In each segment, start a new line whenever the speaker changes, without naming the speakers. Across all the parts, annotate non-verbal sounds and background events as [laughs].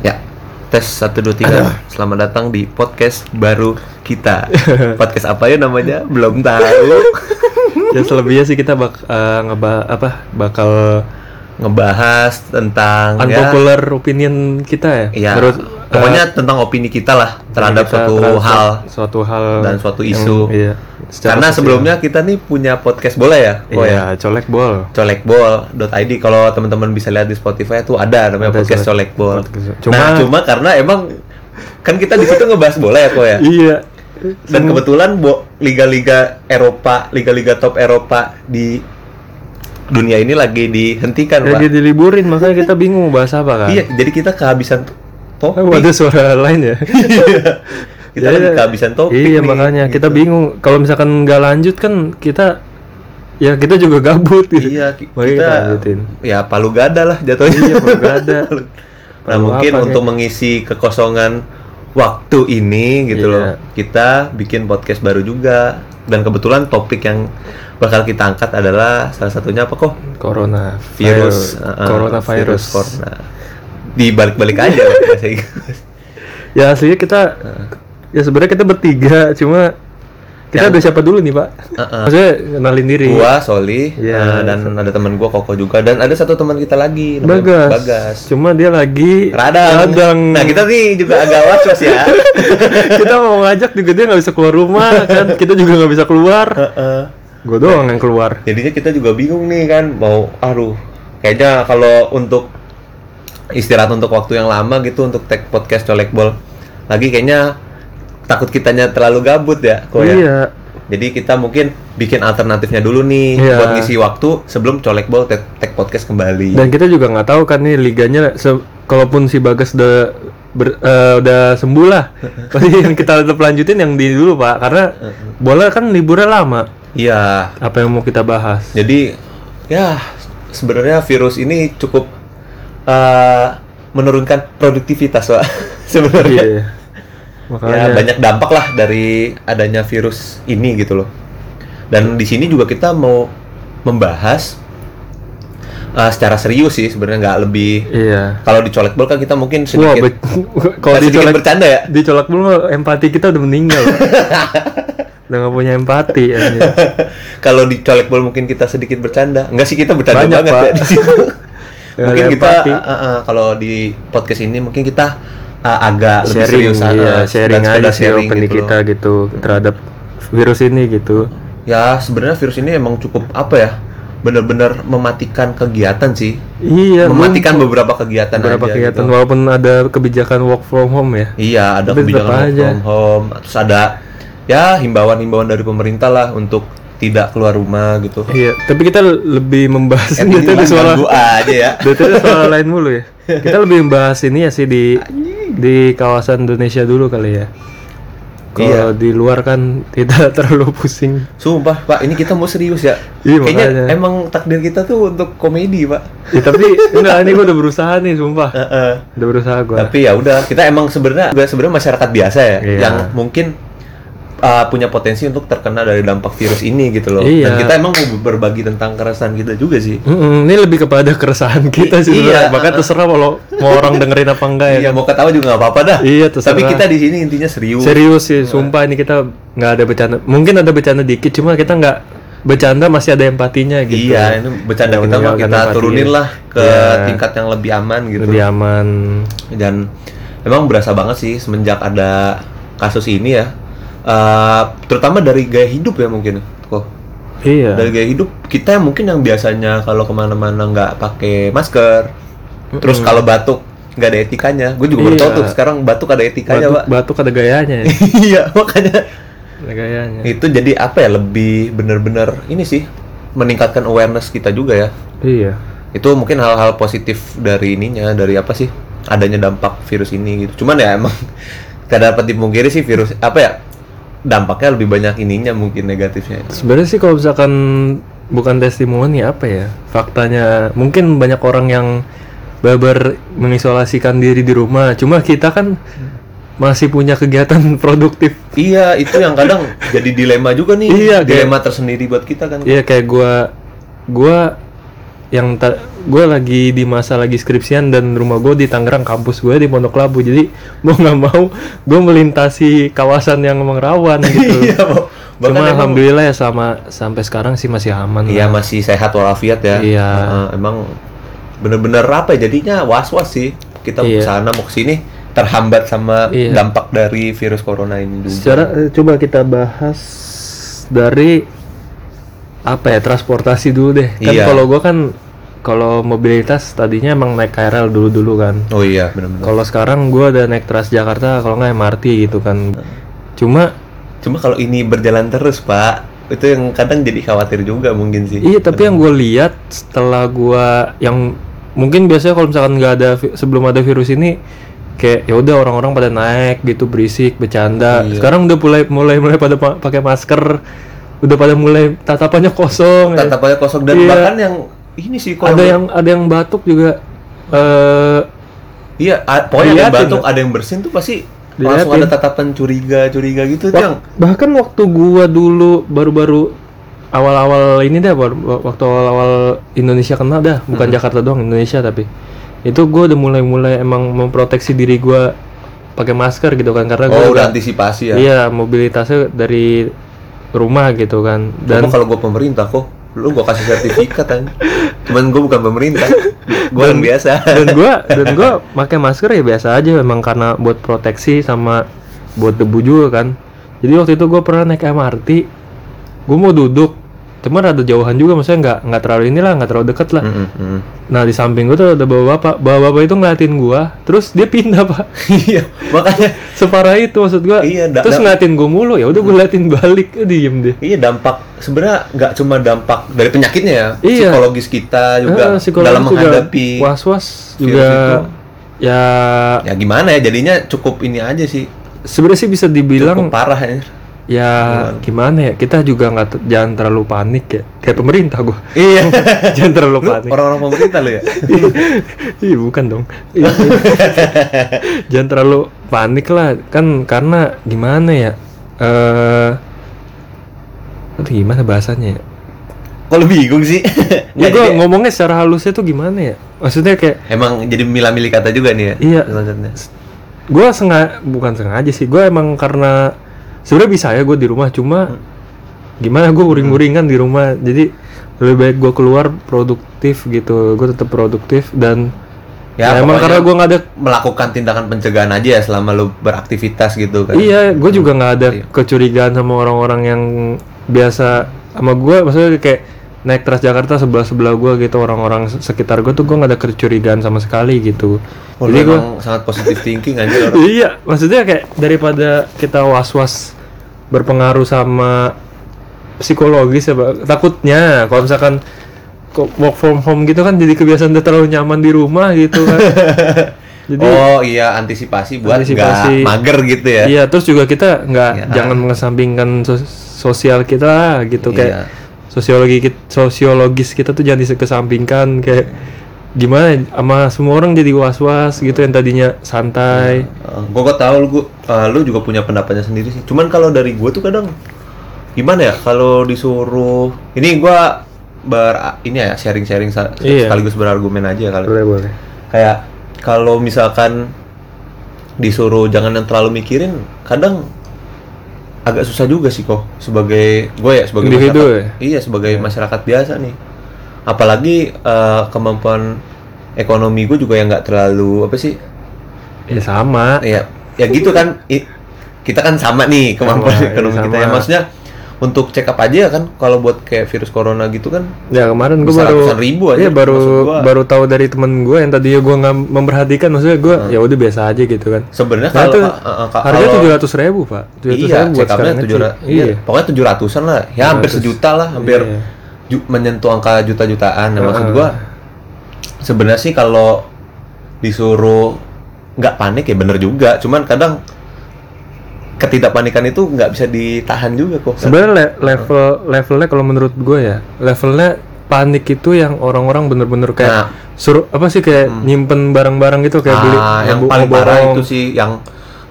Ya, Tes 1, 2, 3 Selamat datang di podcast baru
[laughs]
kita Podcast apa ya namanya? Belum tahu
ya selebihnya sih kita bak eh, ngeba- apa bakal
Ngebahas tentang
unpopular opinion kita ya.
ya, ya,
Menurut,
Pokoknya tentang opini kita lah
eh,
Terhadap
kita
suatu
terhadap
hal
suatu hal
dan suatu
yang-
isu.
iya. Secara
Karena
sosial.
sebelumnya kita nih punya podcast bola ya?
iya,
Boy?
colek bol.
colekbol.id kalau teman-teman bisa lihat di Spotify itu ada namanya
Ada
podcast
Colek-
colekbol.
Podcast-
Cuma nah,
Cuma-
cuma karena emang kan kita di situ ngebahas bola ya kok ya.
Iya.
Dan kebetulan bo- liga-liga Eropa, liga-liga top Eropa di dunia ini lagi dihentikan, Pak.
Lagi diliburin makanya kita bingung mau bahas apa kan.
Iya, jadi kita kehabisan t-
Eh,
topik.
ada suara lain ya.
kita
Jadi-
lagi kehabisan Iya, topik.
Iya
nih,
makanya kita
gitu.
bingung. Kalau misalkan nggak lanjut kan kita ya kita juga gabut gitu.
Iya, ki-
Makanya
kita
lanjutin.
ya palu gada lah jatuhnya.
Iya,
[laughs]
palu gada.
nah,
Palu
mungkin
apa, ya?
untuk
kayak?
mengisi kekosongan waktu ini gitu
Iya.
loh. Kita bikin podcast baru juga dan kebetulan topik yang bakal kita angkat adalah salah satunya apa kok?
Corona
Virus, uh-uh, Heeh,
coronavirus.
virus corona. Di balik-balik [laughs] aja Pak, bahasa Inggris.
Ya aslinya kita ya sebenarnya kita bertiga cuma
Yang-
kita ada siapa dulu nih pak?
Ya. Heeh.
Maksudnya kenalin diri.
Gua Soli
Iya.
eh, dan ada teman gua Koko juga dan ada satu teman kita lagi namanya
Bagas.
Bagas.
Cuma dia lagi
Radang. Nah, kita nih [laughs] juga agak was-was ya.
[laughs] kita mau ngajak juga dia nggak bisa keluar rumah kan kita juga nggak bisa keluar.
Heeh.
Gue doang yang keluar.
Jadinya kita juga bingung nih kan mau aduh kayaknya kalau untuk istirahat untuk waktu yang lama gitu untuk tag podcast colek bol lagi kayaknya takut kitanya terlalu gabut ya kok ya.
Iya.
Jadi kita mungkin bikin alternatifnya dulu nih
Iya.
buat ngisi waktu sebelum colek bol tag, tag podcast kembali.
Dan kita juga nggak tahu kan nih liganya, se- kalaupun si Bagas udah ber- eh, udah sembuh lah, pasti yang kita tetap lanjutin yang di dulu pak, karena bola kan liburnya lama.
Iya.
Apa yang mau kita bahas?
Jadi ya sebenarnya virus ini cukup eh, menurunkan produktivitas Pak. [laughs] sebenarnya.
Iya.
ya
Makanya
banyak dampak lah dari adanya virus ini gitu loh. Dan di sini juga kita mau membahas uh, secara serius sih sebenarnya nggak lebih
iya.
kalau dicolek bol kan kita mungkin
Wah,
sedikit
bet- [laughs] kalau
nggak sedikit
dicolek
bercanda ya.
dicolek dulu empati kita udah
[laughs]
meninggal. Pak. udah nggak punya empati ya. anjir.
kalau dicolek bol mungkin kita sedikit bercanda. Enggak sih kita bercanda
Banyak,
banget
Pak. [laughs]
ya di situ.
Ya,
mungkin
ada
kita
empati.
uh, uh, kalau di podcast ini mungkin kita uh, agak lebih
sharing,
serius uh,
iya,
dan
sharing aja
sekedar
sih
sharing
opini
gitu loh.
kita gitu terhadap virus ini gitu.
Ya sebenarnya virus ini emang cukup apa ya? Bener-bener mematikan kegiatan sih.
Iya, lu-
mematikan beberapa kegiatan
beberapa
aja
kegiatan
gitu.
walaupun ada kebijakan work from home ya.
Iya, ada
Tapi
kebijakan
tetap
work
aja.
from home, terus ada ya himbauan-himbauan dari pemerintah lah untuk tidak keluar rumah
[laughs]
gitu.
Iya, tapi kita lebih
Eh,
membahas ini
ini
tadi
mah
soal
ganggu aja ya.
dari tadi soal lain mulu ya. Kita lebih membahas ini ya sih di di kawasan Indonesia dulu kali ya.
Iya.
Kalau di luar kan tidak [laughs] terlalu pusing.
Sumpah, Pak, ini kita mau serius ya.
Iya,
Kayaknya
makanya.
emang takdir kita tuh untuk komedi, Pak.
Ya, tapi enggak ini gua udah berusaha nih sumpah.
Heeh.
Udah berusaha gua.
Tapi ya udah, kita emang sebenarnya juga sebenarnya masyarakat biasa ya
Iya.
yang mungkin uh, punya potensi untuk terkena dari dampak virus ini gitu loh. Dan
Iya.
kita emang mau berbagi tentang keresahan kita juga sih.
Mm-mm, ini lebih kepada keresahan kita sih.
Iya.
sebenarnya. Bahkan terserah kalau mau orang dengerin apa enggak ya.
Iya, mau ketawa juga nggak apa-apa dah.
Iya, terserah.
Tapi kita di sini intinya serius.
Serius sih,
Iya.
sumpah ini kita nggak ada bercanda. Mungkin ada bercanda dikit, cuma kita nggak bercanda masih ada empatinya gitu.
Iya, ini bercanda
Yang
kita mah
meninggalkan
kita
empati.
turunin lah ke
ya. Iya.
tingkat yang lebih aman gitu.
Lebih aman.
Dan emang berasa banget sih semenjak ada kasus ini ya. Eh, terutama dari gaya hidup ya mungkin kok.
Iya.
Dari gaya hidup kita mungkin yang biasanya kalau kemana-mana nggak pakai masker, terus kalau batuk nggak ada etikanya. Gue juga baru
Iya.
tahu tuh sekarang batuk ada etikanya,
batuk,
pak. [laughs]
batuk ada gayanya ya.
iya, makanya
Ada gayanya.
itu jadi apa ya lebih bener-bener ini sih meningkatkan awareness kita juga ya
Iya.
itu mungkin hal-hal positif dari ininya dari apa sih adanya dampak virus ini gitu cuman ya emang [laughs] tidak dapat dipungkiri sih virus apa ya dampaknya lebih banyak ininya mungkin negatifnya
Sebenarnya sih kalau misalkan bukan testimoni apa ya? Faktanya mungkin banyak orang yang babar mengisolasikan diri di rumah. Cuma kita kan masih punya kegiatan [laughs] produktif.
iya itu yang kadang
[laughs]
jadi dilema juga nih
Iya, kayak-
dilema tersendiri buat kita kan
Iya kayak gua gua yang ta- gue lagi di masa lagi skripsian dan rumah gue di Tangerang kampus gue di Pondok Labu jadi [laughs] mau nggak mau gue melintasi kawasan yang emang rawan gitu
[laughs] [laughs] Iya, Bo. Bahkan
cuma
emang-
alhamdulillah ya sama sampai sekarang sih masih aman
Iya
lah.
masih sehat walafiat ya.
Iya.
Heeh, emang bener-bener apa ya jadinya was-was sih kita ke
Iya.
sana mau ke sini terhambat sama
Iya.
dampak dari virus corona ini juga.
secara eh, coba kita bahas dari apa ya transportasi dulu deh kan
Iya.
kalau gue kan kalau mobilitas tadinya emang naik KRL dulu dulu kan
Oh iya bener-bener.
Kalau sekarang gua ada naik Transjakarta, kalau nggak MRT gitu kan. Cuma
Cuma kalau ini berjalan terus pak, itu yang kadang jadi khawatir juga mungkin sih.
iya tapi yang gue lihat setelah gua yang mungkin biasanya kalau misalkan nggak ada vi- sebelum ada virus ini kayak ya udah orang-orang pada naik gitu berisik bercanda. Sekarang udah mulai mulai mulai pada pa- pakai masker, udah pada mulai tatapannya kosong. ya.
Tatapannya kosong dan
Iya.
bahkan yang ini sih kalau
Ada yang ada yang batuk juga. eh
iya a- pokoknya ada yang
Diliatin,
batuk, ada yang bersin tuh pasti langsung
Diliatin.
ada tatapan curiga-curiga gitu itu
Wak-
yang
bahkan waktu gua dulu baru-baru awal-awal ini dah baru- waktu awal-awal Indonesia kenal dah bukan
Hmm.
Jakarta doang Indonesia tapi itu gua udah mulai-mulai emang memproteksi diri gua pakai masker gitu kan karena gua
oh udah antisipasi ya.
iya mobilitasnya dari rumah gitu kan
Dan
dan
kalau gue pemerintah kok, lu gue kasih sertifikat kan.
[laughs]
Cuman gue bukan pemerintah, gue yang biasa.
dan gua dan gua pakai masker ya biasa aja memang karena buat proteksi sama buat debu juga kan jadi waktu itu gua pernah naik MRT gua mau duduk cuma rada jauhan juga maksudnya nggak nggak terlalu inilah nggak terlalu deket lah
Mm, mm, mm.
nah di samping gua tuh ada bapak bapak bapak bapak itu ngeliatin gua terus dia pindah pak
Iya, makanya
separah itu maksud gua
Iya, da-
terus
da-
ngeliatin gua mulu ya udah gua liatin balik Eh, diem deh
iya dampak sebenarnya nggak cuma dampak dari penyakitnya ya,
Iya.
psikologis kita juga
Eh, psikologis
dalam
juga
menghadapi.
was-was juga ya
Ya gimana ya jadinya cukup ini aja sih,
sebenarnya sih bisa
cukup
dibilang
parah ya.
ya gimana ya kita juga nggak te- jangan terlalu panik ya kayak pemerintah [laughs] gua
Iya,
jangan terlalu
lu
[laughs] panik
orang-orang pemerintah lu ya.
Ih, bukan dong [laughs] Ih, jangan terlalu panik lah kan karena gimana ya eh aduh, gimana bahasanya ya
Kalau bingung
[laughs]
sih. Nggak,
ya gua
jadi
ngomongnya secara halusnya tuh gimana ya maksudnya kayak
Emang jadi milah-milih kata juga nih ya.
Iya.
selanjutnya.
gue sengaja bukan sengaja sih gue emang karena sebenarnya bisa ya gue di rumah
Hmm.
cuma gimana gue uring-uringan di rumah jadi lebih baik gue keluar produktif gitu gue tetap produktif dan
Ya,
ya, emang
pokoknya-
karena gue nggak ada
Melakukan tindakan pencegahan aja ya selama lu beraktivitas gitu kan.
iya gue juga nggak ada
Iya.
kecurigaan sama orang-orang yang biasa sama gue maksudnya kayak naik Transjakarta sebelah sebelah gue gitu orang-orang sekitar gue tuh gue nggak ada kecurigaan sama sekali gitu
Oh, lu
jadi gue
emang sangat positive thinking anjir orang.
iya maksudnya kayak daripada kita was-was berpengaruh sama psikologis ya Pak. takutnya kalau misalkan kok work from home gitu kan jadi kebiasaan udah terlalu nyaman di rumah gitu kan [laughs] jadi
oh iya antisipasi buat nggak
Antisipasi.
mager gitu ya.
[laughs] iya terus juga kita nggak
Iya.
jangan mengesampingkan sos- sosial kita lah, gitu
Iya.
kayak sosiologi kit- sosiologis kita tuh jangan dikesampingkan kayak gimana sama semua orang jadi was-was gitu yang tadinya santai
gue kok tahu lu, Eh, gua- eh, lu juga punya pendapatnya sendiri sih. Cuman kalau dari gue tuh kadang gimana ya kalau disuruh ini gue ber ini ya sharing-sharing sa-
Iya.
sekaligus berargumen aja kali.
boleh boleh
Kayak kalau misalkan disuruh jangan yang terlalu mikirin, kadang agak susah juga sih kok sebagai gue ya sebagai
Individu
masyarakat- iya sebagai masyarakat biasa nih apalagi eh, kemampuan ekonomi gue juga yang nggak terlalu apa sih
ya sama
ya ya gitu kan I- kita kan sama nih kemampuan
Sama, iya,
ekonomi kita ya
sama.
maksudnya untuk check up aja ya kan kalau buat kayak virus corona gitu kan
Ya kemarin gue
Bisa
baru
ratusan ribu aja,
Iya baru
maksud gua.
baru tahu dari temen gue yang tadinya gue nggak memperhatikan maksudnya gue ya udah biasa aja gitu kan.
sebenarnya
Nah,
kalau
itu
ka- Hmm. eh, eh, ka-
harga
kalau-
tujuh ratus ribu pak.
iya,
700.000 buat
check up-nya
sekarang
tujuh
ngecek.
iya.
Iya.
pokoknya tujuh ratusan lah, ya hampir
700.
sejuta lah, hampir
Iya.
ju- menyentuh angka juta-jutaan. Nah, maksud
Heeh.
gua sebenarnya sih kalau disuruh nggak panik ya bener juga, cuman kadang ketidakpanikan itu nggak bisa ditahan juga kok.
Sebenarnya
Hmm.
le- level levelnya kalau menurut gue ya levelnya panik itu yang orang-orang bener-bener kayak
Nah. Hmm.
suruh apa sih kayak nyimpen barang-barang gitu kayak beli
Ah, yang
obo-
paling parah
oborong.
itu sih yang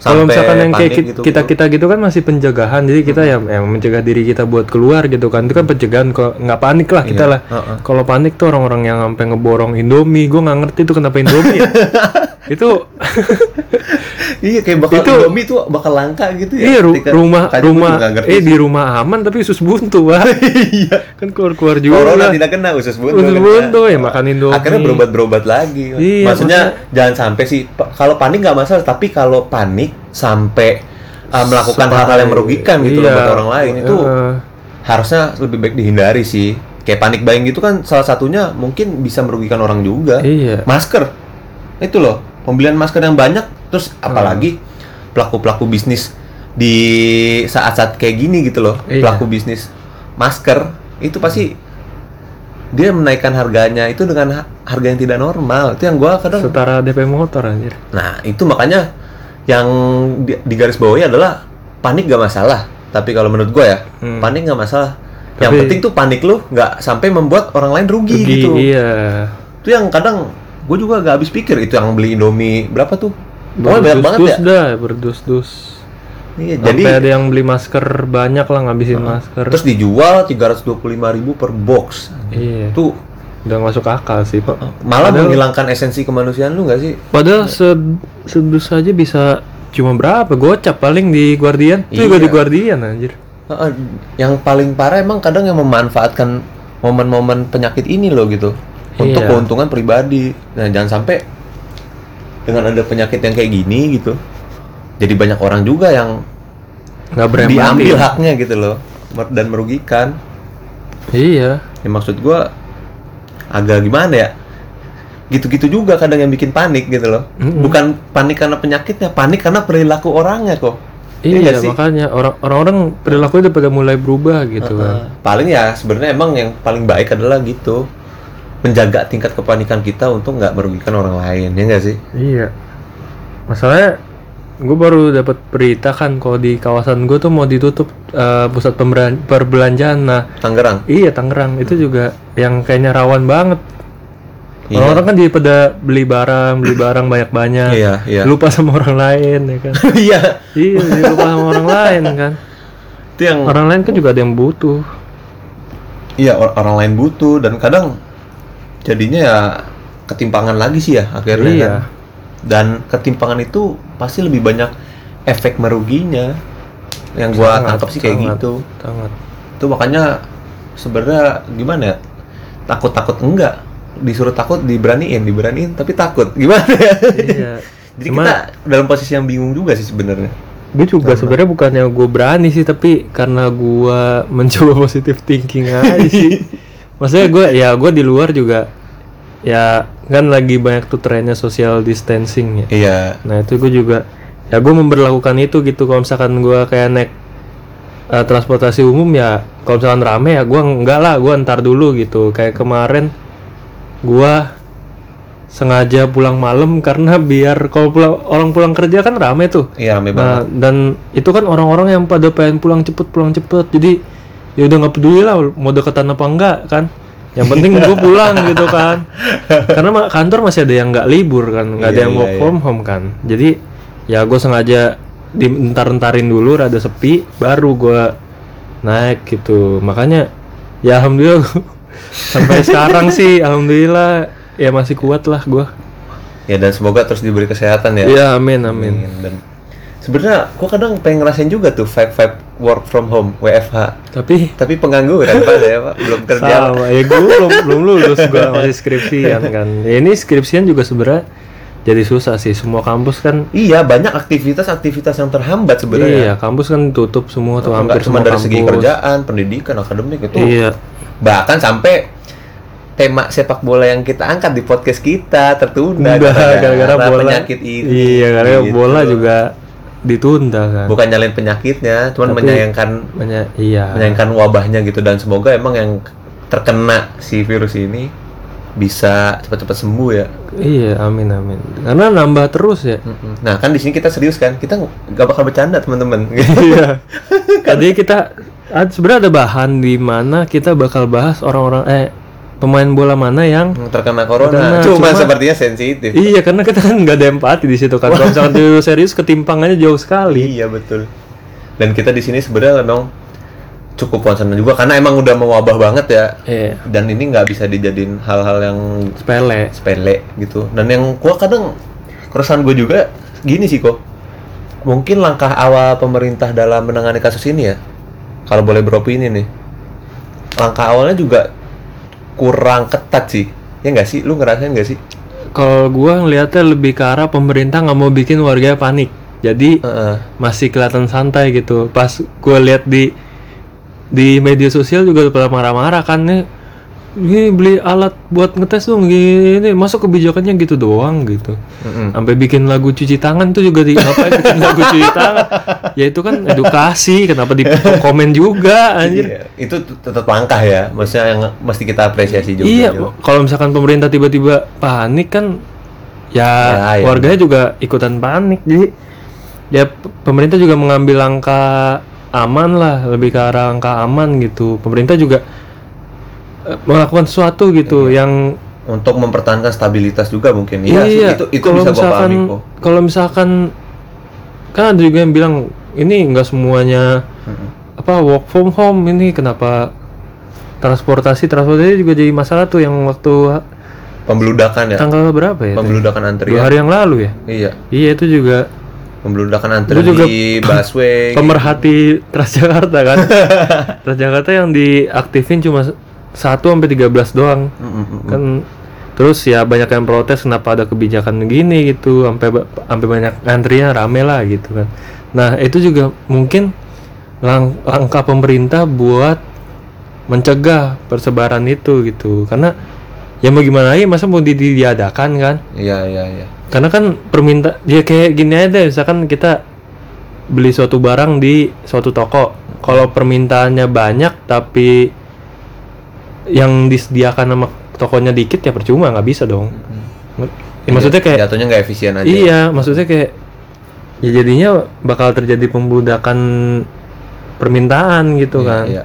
Kalau
Sampai
misalkan yang kayak
panik
ki-
gitu,
kita
gitu.
kita gitu kan masih pencegahan, jadi kita ya emang mencegah diri kita buat keluar gitu kan. Itu kan pencegahan kok nggak panik lah kita
Iya,
lah.
uh-uh.
Kalau panik tuh orang-orang yang sampai ngeborong Indomie, gue nggak ngerti itu kenapa
[laughs]
Indomie. ya. itu
Iya kayak bakal
Itu-
Indomie tuh bakal langka gitu ya.
iya ru-
Ketika-
rumah
makanya gua
rumah
juga nggak ngerti
eh
sih. Iya.
di rumah aman tapi usus buntu
[laughs]
wah. kan keluar-keluar juga.
Corona tidak kena usus buntu.
Usus
kena.
buntu, ya makan Indomie.
Akhirnya berobat-berobat lagi.
Iya,
maksudnya jangan sampai sih pa- kalau panik nggak masalah, tapi kalau panik sampai uh, melakukan
Sampai-
hal-hal yang merugikan gitu loh
iya.
buat orang lain itu
Eh,
harusnya lebih baik dihindari sih. Kayak panik buying gitu kan salah satunya mungkin bisa merugikan orang juga.
iya.
Masker. Itu loh, pembelian masker yang banyak terus
Hmm.
apalagi pelaku-pelaku bisnis di saat-saat kayak gini gitu loh.
Iya.
Pelaku bisnis masker itu pasti dia menaikkan harganya itu dengan ha- harga yang tidak normal. Itu yang gua kadang
Setara DP motor anjir.
Nah, itu makanya yang di, di garis bawahnya adalah panik gak masalah. Tapi kalau menurut gue ya,
Hmm.
panik gak masalah. yang
Tapi-
penting tuh panik lu nggak sampai membuat orang lain rugi,
Rugi,
gitu.
Iya.
Itu yang kadang gue juga gak habis pikir itu yang beli Indomie berapa tuh? Pokoknya banyak banget ya.
Berdus-dus dah, berdus-dus.
Iya,
Jadi
jadi
ada yang beli masker banyak lah ngabisin masker.
terus dijual 325.000 per box.
iya.
Itu
Udah nggak masuk akal sih, Pak.
malah
Padahal-
menghilangkan esensi kemanusiaan lu gak sih?
Padahal se sedus aja bisa cuma berapa gocap paling di Guardian. Itu juga
Iya.
di Guardian anjir.
Heeh, yang paling parah emang kadang yang memanfaatkan momen-momen penyakit ini loh gitu untuk
Iya.
keuntungan pribadi. Nah jangan sampai dengan ada penyakit yang kayak gini gitu, jadi banyak orang juga yang
Nggak berempati.
diambil haknya gitu loh mer- dan merugikan.
Iya.
Ya maksud gua agak gimana ya? Gitu-gitu juga kadang yang bikin panik gitu loh.
Mm-mm.
Bukan panik karena penyakitnya, panik karena perilaku orangnya kok. Iya
Iya,
nggak sih?
makanya orang- orang-orang perilakunya udah pada mulai berubah gitu kan.
Heeh. Paling ya sebenarnya emang yang paling baik adalah gitu menjaga tingkat kepanikan kita untuk nggak merugikan orang lain ya nggak sih?
Iya. Masalahnya gue baru dapat berita kan kalau di kawasan gue tuh mau ditutup eh, pusat pemberan- perbelanjaan. Nah,
Tangerang.
iya Tangerang itu juga yang kayaknya rawan banget.
Iya.
Orang-orang kan jadi pada beli barang, beli barang banyak-banyak.
Iya iya.
Lupa sama orang lain ya kan.
Iya. [laughs]
iya, jadi lupa sama orang lain kan.
Itu yang
Orang lain kan juga ada yang butuh.
iya or- orang lain butuh dan kadang jadinya ya ketimpangan lagi sih ya akhirnya.
Iya.
kan. Dan ketimpangan itu pasti lebih banyak efek meruginya yang gua
Sangat,
tangkap sih kayak
sangat,
gitu.
Sangat.
itu makanya sebenarnya gimana ya takut takut enggak disuruh takut diberaniin diberaniin tapi takut [laughs] gimana ya
iya.
jadi
Cuma-
kita dalam posisi yang bingung juga sih sebenarnya
Gue juga sebenarnya bukannya gue berani sih, tapi karena gue mencoba [laughs] positive thinking aja sih.
[laughs]
Maksudnya gue, ya gue di luar juga, ya kan lagi banyak tuh trennya social distancing ya.
iya
Nah itu gue juga, ya gue memperlakukan itu gitu. Kalau misalkan gue kayak naik eh, transportasi umum ya, kalau misalkan rame ya gue enggak lah, gue ntar dulu gitu. Kayak kemarin gue sengaja pulang malam karena biar kalau pulang- orang pulang kerja kan rame tuh.
iya rame banget
Nah, dan itu kan orang-orang yang pada pengen pulang cepet pulang cepet jadi ya udah nggak peduli lah mau deketan apa enggak kan yang
[laughs]
penting gue pulang gitu kan karena ma- kantor masih ada yang nggak libur kan nggak ada
Iya,
yang
iya,
work
iya.
from home kan jadi ya gue sengaja dientar-entarin dulu rada sepi baru gue naik gitu makanya ya alhamdulillah [laughs] sampai sekarang sih alhamdulillah ya masih kuat lah gue
ya dan semoga terus diberi kesehatan ya
ya amin amin
Amin. dan sebenarnya gua kadang pengen ngerasain juga tuh vibe vibe work from home WFH
tapi
tapi
[laughs]
pengangguran pak ya pak belum kerja
Sama, ya gue belum, belum lulus gue masih skripsian kan ya, ini skripsian juga sebenarnya jadi susah sih semua kampus kan
iya banyak aktivitas-aktivitas yang terhambat sebenarnya
iya kampus kan tutup semua tuh hampir
Nggak cuma
semua
dari
kampus
segi kerjaan, pendidikan, akademik itu.
Iya.
Bahkan sampai tema sepak bola yang kita angkat di podcast kita tertunda
Udah, gara-gara bola
penyakit ini.
iya gara-gara
Gitu.
bola juga ditunda kan
Bukan nyalain penyakitnya, cuman
Tapi-
menyayangkan
banyak
Ah.
iya
menyayangkan wabahnya gitu dan semoga emang yang terkena si virus ini bisa cepat-cepat sembuh ya.
iya amin amin karena nambah terus ya
Mm-mm. Nah kan di sini kita serius kan, kita nggak bakal bercanda [laughs] teman-teman.
iya tadi kita ad- sebenarnya ada bahan di mana kita bakal bahas orang-orang eh pemain bola mana yang
terkena corona
Terkena,
cuma
cuma-
sepertinya sensitif
Iya karena kita kan nggak ada empati di situ kan. Kalau misalkan dulu serius ketimpangannya jauh sekali.
Iya betul. Dan kita di sini sebenarnya memang cukup concern juga karena emang udah mewabah banget ya.
Iya.
Dan ini nggak bisa dijadiin hal-hal yang
Sepele.
sepele gitu. Dan yang gua kadang keresahan gue juga gini sih kok. Mungkin langkah awal pemerintah dalam menangani kasus ini ya, kalau boleh beropini nih, langkah awalnya juga kurang ketat sih. Ya nggak sih? Lu ngerasain nggak sih?
Kalau gua ngelihatnya lebih ke arah pemerintah nggak mau bikin warga panik. Jadi
Heeh.
masih kelihatan santai gitu. Pas gua lihat di di media sosial juga pada marah-marah kan nih. Ini beli alat buat ngetes dong gini. Masuk kebijakannya gitu doang gitu.
Mm-mm.
Sampai bikin lagu cuci tangan tuh juga di apa bikin lagu cuci tangan. Ya itu kan edukasi, kenapa di komen juga anjir.
Iya, itu t- tetap langkah ya, maksudnya yang mesti kita apresiasi juga. gitu.
iya,
Jo.
kalau misalkan pemerintah tiba-tiba panik kan ya
Ya, iya.
warganya juga ikutan panik. Jadi ya p- pemerintah juga mengambil langkah aman lah, lebih ke arah langkah aman gitu. Pemerintah juga eh, melakukan sesuatu gitu
Iya.
yang
untuk mempertahankan stabilitas juga mungkin
Iya,
sih,
iya.
itu itu
kalau
bisa gua
misalkan
pahami kok
kalau misalkan kan ada juga yang bilang ini nggak semuanya apa work from home ini kenapa transportasi transportasi juga jadi masalah tuh yang waktu ha-
pembeludakan ya
tanggal berapa ya?
pembeludakan
Dua
antrian
hari yang lalu ya.
iya
Iya itu juga
pembeludakan antrian
Gua juga-
di busway
pemerhati Transjakarta kan. Transjakarta yang diaktifin cuma 1 sampai 13 doang.
Mm, mm, mm.
kan terus ya banyak yang protes kenapa ada kebijakan begini gitu sampai ba- sampai banyak antrian rame lah gitu kan nah itu juga mungkin lang- langkah pemerintah buat mencegah persebaran itu gitu karena ya mau gimana lagi masa mau di- di- diadakan kan
iya iya iya
karena kan perminta dia kayak gini aja deh misalkan kita beli suatu barang di suatu toko kalau permintaannya banyak tapi yang disediakan sama tokonya dikit ya percuma nggak bisa dong Ya, maksudnya
Iya,
kayak
jatuhnya nggak efisien aja
iya maksudnya kayak ya jadinya bakal terjadi pembudakan permintaan gitu
Iya,
kan
iya.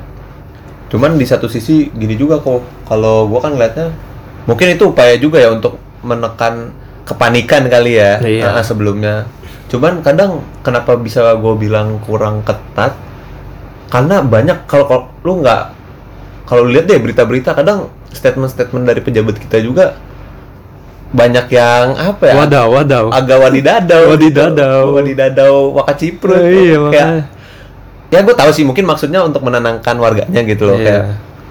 cuman di satu sisi gini juga kok kalau gua kan ngeliatnya mungkin itu upaya juga ya untuk menekan kepanikan kali ya
Iya.
ah, sebelumnya cuman kadang kenapa bisa gua bilang kurang ketat karena banyak kalau kalau lu nggak kalau lu lihat deh berita-berita kadang statement-statement dari pejabat kita juga banyak yang apa ya
wadah wadah
agak wadidadau
Oh. Wadidadau.
gitu. wadidadau waka ciprut
iya
Kayak,
makanya
ya gue tahu sih mungkin maksudnya untuk menenangkan warganya gitu loh
Iya.
kayak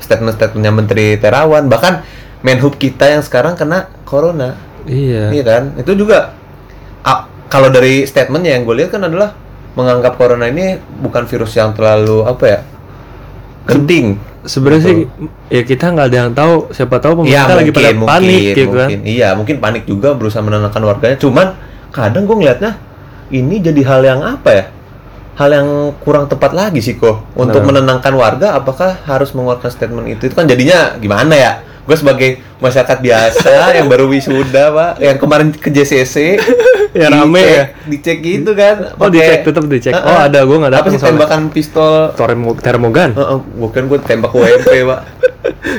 statement-statementnya Menteri Terawan bahkan Menhub kita yang sekarang kena corona
iya
iya kan itu juga ah, kalau dari statementnya yang gue lihat kan adalah menganggap corona ini bukan virus yang terlalu apa ya genting
sebenarnya sih ya kita nggak ada yang tahu siapa tahu pemerintah lagi pada panik
Iya,
gitu kan
mungkin. Iya, mungkin panik juga berusaha menenangkan warganya. Cuman kadang gue ngelihatnya ini jadi hal yang apa ya? Hal yang kurang tepat lagi sih kok. Untuk
Nah.
menenangkan warga, apakah harus mengeluarkan statement itu? Itu kan jadinya gimana ya? Gue sebagai masyarakat
[laughs]
biasa yang baru wisuda, Pak, yang kemarin ke JCC,
Ya, rame
dicek-
ya?
dicek gitu kan.
Oh, dicek, tetap dicek. Oh, ada, gua nggak
ada. Apa
datang
sih
soalnya.
tembakan pistol?
Termo termogan
[laughs] Heeh, bukan gue tembak WMP, Pak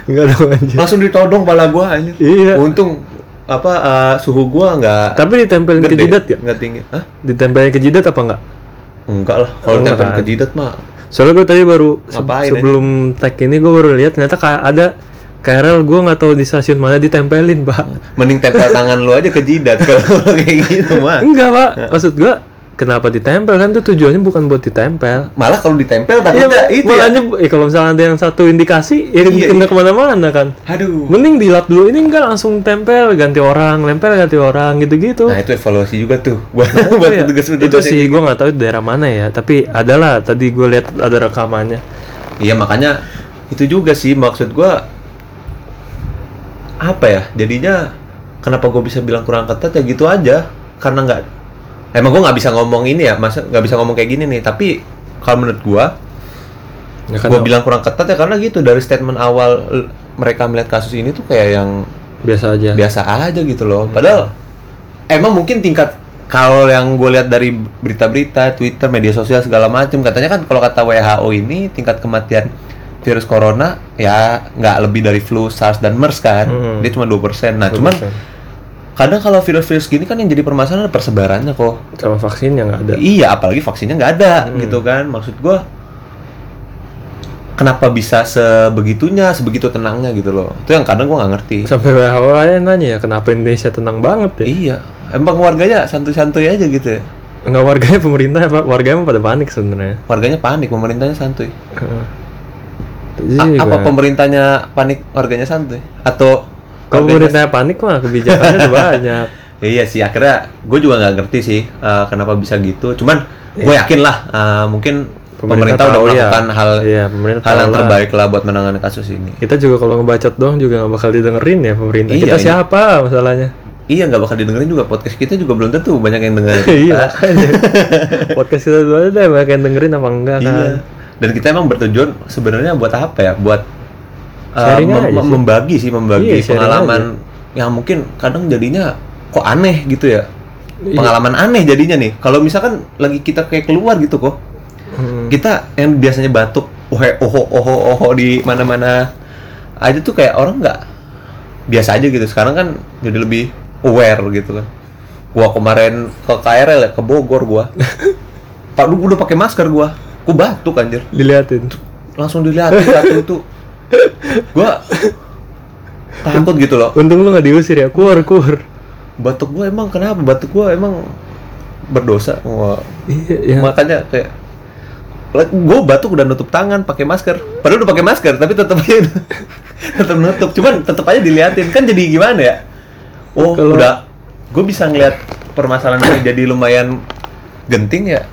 enggak tahu aja
langsung ditodong pala gua anjir.
Iya.
Untung apa eh, suhu gua nggak
tapi ditempelin ke
gede,
jidat ya
nggak tinggi. Hah?
ditempelin ke jidat apa enggak
Enggak lah. Kalau
Enggak
tempel
kan?
ke jidat mah
soalnya gue tadi baru se-
Ngapain, eh?
sebelum tag ini gue baru lihat ternyata kayak ada KRL gue nggak tahu di stasiun mana ditempelin pak
mending tempel tangan lu aja ke jidat [laughs] kalau kayak gitu mah.
enggak pak maksud gue kenapa ditempel kan itu tujuannya bukan buat ditempel
Malah kalau ditempel
Iya,
takutnya itu ya.
makanya eh, kalau misalnya ada yang satu indikasi, ya
Iya, Uh.
kena kemana-mana kan.
Aduh.
Mending dilap dulu ini enggak langsung tempel ganti orang, lempel ganti orang gitu-gitu.
Nah, itu evaluasi juga tuh buat
Itu
buat
ya,
petugas-petugas
itu
yang-
sih gue nggak tahu itu daerah mana ya, tapi adalah tadi gue lihat ada rekamannya.
Iya makanya itu juga sih maksud gua apa ya jadinya kenapa gue bisa bilang kurang ketat ya gitu aja karena nggak emang gue nggak bisa ngomong ini ya masa nggak bisa ngomong kayak gini nih tapi kalau menurut gua
Ya kan,
gue bilang kurang ketat ya karena gitu dari statement awal l- mereka melihat kasus ini tuh kayak yang
biasa aja.
biasa aja gitu loh
Hmm.
padahal emang mungkin tingkat kalau yang gue lihat dari berita-berita Twitter media sosial segala macam katanya kan kalau kata WHO ini tingkat kematian virus corona ya nggak lebih dari flu, SARS dan MERS kan.
Hmm.
Dia cuma 2%. Nah, cuman kadang kalau virus-virus gini kan yang jadi permasalahan adalah persebarannya kok.
sama vaksin yang nggak ada
Iya, apalagi vaksinnya nggak ada
Hmm.
gitu kan. Maksud gua kenapa bisa sebegitunya, sebegitu tenangnya gitu loh. Itu yang kadang gua nggak ngerti.
sampai WHO aja nanya ya kenapa Indonesia tenang banget ya
Iya, emang warganya santuy-santuy aja gitu ya.
nggak warganya pemerintah apa warganya mah pada panik sebenarnya
Warganya panik, pemerintahnya santuy.
Heeh.
A-
Jadi
apa
juga-
pemerintahnya panik, warganya santuy? Atau
kalau
warganya-
pemerintah panik mah kebijakannya
[laughs]
udah banyak
Iya sih, akhirnya gue juga nggak ngerti sih eh, kenapa bisa gitu. Cuman gue yakin lah, eh, mungkin pemerintah, udah
Iya. tahu ya.
melakukan hal
Iya, pemerintah
hal yang
tahu lah.
terbaik lah buat menangani kasus ini.
kita juga kalau ngebacot doang juga nggak bakal didengerin ya pemerintah
Iya,
kita
iya.
siapa masalahnya
Iya nggak bakal didengerin juga podcast kita juga belum tentu banyak yang dengerin.
[laughs] iya makanya. podcast kita dulu aja deh banyak yang dengerin apa enggak kan
Iya. Dan kita emang bertujuan sebenarnya buat apa ya? Buat eh,
Sharing
mem-
aja
mem-
sih.
membagi sih, membagi
Iya, sharing
pengalaman yang mungkin kadang jadinya kok aneh gitu ya.
Iya.
Pengalaman aneh jadinya nih. Kalau misalkan lagi kita kayak keluar gitu kok,
Hmm.
kita yang biasanya batuk ohe oho oho oho di mana-mana aja tuh kayak orang nggak biasa aja gitu sekarang kan jadi lebih aware gitu kan gua kemarin ke KRL ya ke Bogor gua pak lu udah pakai masker gua gua batuk anjir
diliatin
langsung dilihatin satu itu gua takut gitu loh
untung lu nggak diusir ya kur kur
batuk gua emang kenapa batuk gua emang berdosa Wah,
iya iya.
makanya kayak gue batuk udah nutup tangan pakai masker padahal udah pakai masker tapi tetap aja [laughs] tetap nutup cuman tetap aja diliatin kan jadi gimana ya oh
Kalau-
udah gue bisa ngeliat permasalahan ini jadi lumayan genting ya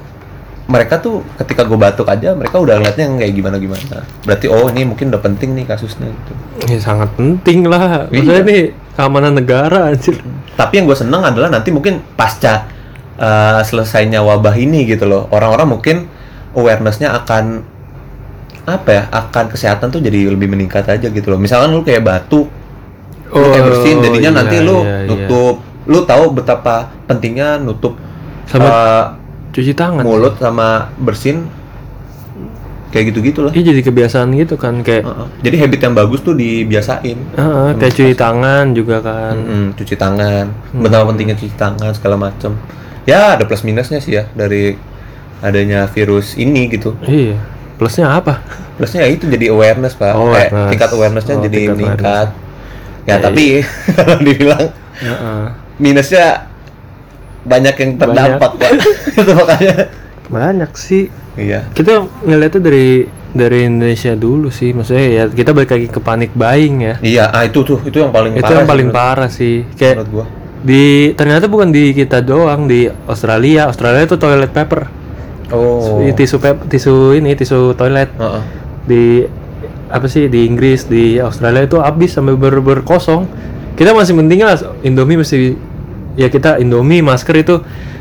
mereka tuh ketika gue batuk aja mereka udah ngeliatnya yang kayak gimana gimana berarti oh ini mungkin udah penting nih kasusnya gitu
Ya, sangat penting lah maksudnya
Iya.
nih keamanan negara anjir
tapi yang gue seneng adalah nanti mungkin pasca uh, selesainya wabah ini gitu loh orang-orang mungkin awarenessnya akan apa ya akan kesehatan tuh jadi lebih meningkat aja gitu loh misalkan lu kayak batuk lu kayak bersin jadinya
iya,
nanti lu
iya, iya.
nutup lu tahu betapa pentingnya nutup
Sama
uh,
cuci tangan
mulut sama bersin kayak gitu-gitu lah
Iya jadi kebiasaan gitu kan kayak
Uh-uh. jadi habit yang bagus tuh dibiasain
ah, ah, kayak
Hmm.
cuci tangan juga kan
Mm, cuci tangan,
Hmm.
betapa pentingnya cuci tangan segala macam. Ya ada plus minusnya sih ya dari adanya virus ini gitu.
iya plusnya apa
Plusnya ya itu jadi awareness pak,
Oh,
Kayak
awareness.
tingkat awarenessnya
Oh,
jadi
tingkat
meningkat. Ya
Ya,
tapi [laughs] kalau dibilang minusnya banyak yang terdampak pak, [laughs] itu makanya.
banyak sih
Iya.
kita ngeliatnya dari dari Indonesia dulu sih maksudnya ya kita balik lagi ke panik buying ya
Iya, ah itu tuh itu yang paling
itu
parah.
yang
sih
paling
menurut-
parah sih kayak
Menurut gua.
di ternyata bukan di kita doang di Australia Australia itu toilet paper
Oh.
tisu pep- tisu ini tisu toilet
Heeh.
di apa sih di Inggris di Australia itu habis sampai bener-bener kosong kita masih mending lah Indomie masih ya kita Indomie masker itu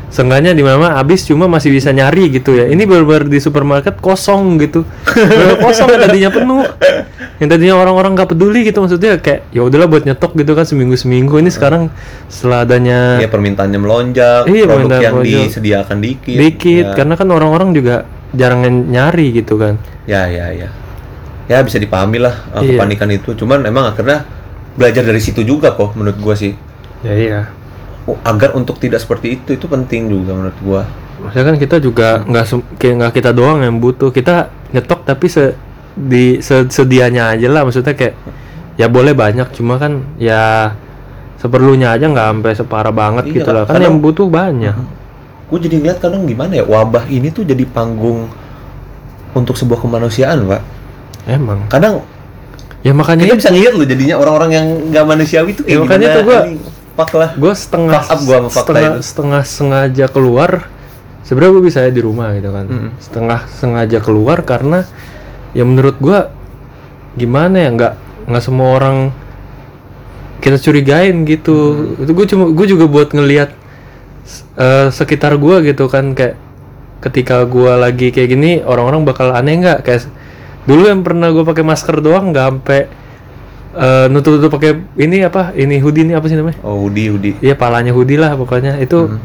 seenggaknya di mana habis cuma masih bisa nyari gitu ya ini bener-bener di supermarket kosong gitu Bener-bener kosong yang tadinya penuh yang tadinya orang-orang nggak peduli gitu maksudnya kayak ya udahlah buat nyetok gitu kan seminggu seminggu ini sekarang setelah adanya
Iya permintaannya melonjak,
Iya,
produk
permintaan
yang
melonjak.
disediakan dikit.
dikit
Ya.
karena kan orang-orang juga jarang nyari gitu kan
Ya, ya, ya. Ya bisa dipahami lah eh,
Iya.
kepanikan itu. Cuman emang akhirnya belajar dari situ juga kok menurut gua sih.
ya iya
Oh, Agar untuk tidak seperti itu itu penting juga menurut gua.
Maksudnya kan kita juga nggak sem- kayak nggak kita doang yang butuh. Kita nyetok tapi se di se- sedianya aja lah. Maksudnya kayak ya boleh banyak cuma kan ya seperlunya aja nggak sampai separah banget
Iya,
gitu lah. Kan
kadang-
yang butuh banyak.
Gue jadi ngeliat kadang gimana ya wabah ini tuh jadi panggung untuk sebuah kemanusiaan, Pak.
Emang.
Kadang
Ya makanya
kita bisa ngeliat loh jadinya orang-orang yang nggak manusiawi tuh kayak
Ya, makanya
gimana.
tuh gua-
Ini, fuck lah.
gue setengah
Fuck up gua sama fakta
setengah,
itu.
setengah sengaja keluar sebenarnya gue bisa aja di rumah gitu kan
Mm-mm.
setengah sengaja keluar karena ya menurut gua gimana ya nggak nggak semua orang kita curigain gitu itu gue cuma gue juga buat ngelihat s- eh, sekitar gua gitu kan kayak ketika gua lagi kayak gini orang-orang bakal aneh nggak kayak s- dulu yang pernah gue pakai masker doang nggak sampai eh, nutup-nutup pakai ini apa ini hoodie ini apa sih namanya
Oh, Udi, Udi.
Iya palanya hoodie lah pokoknya itu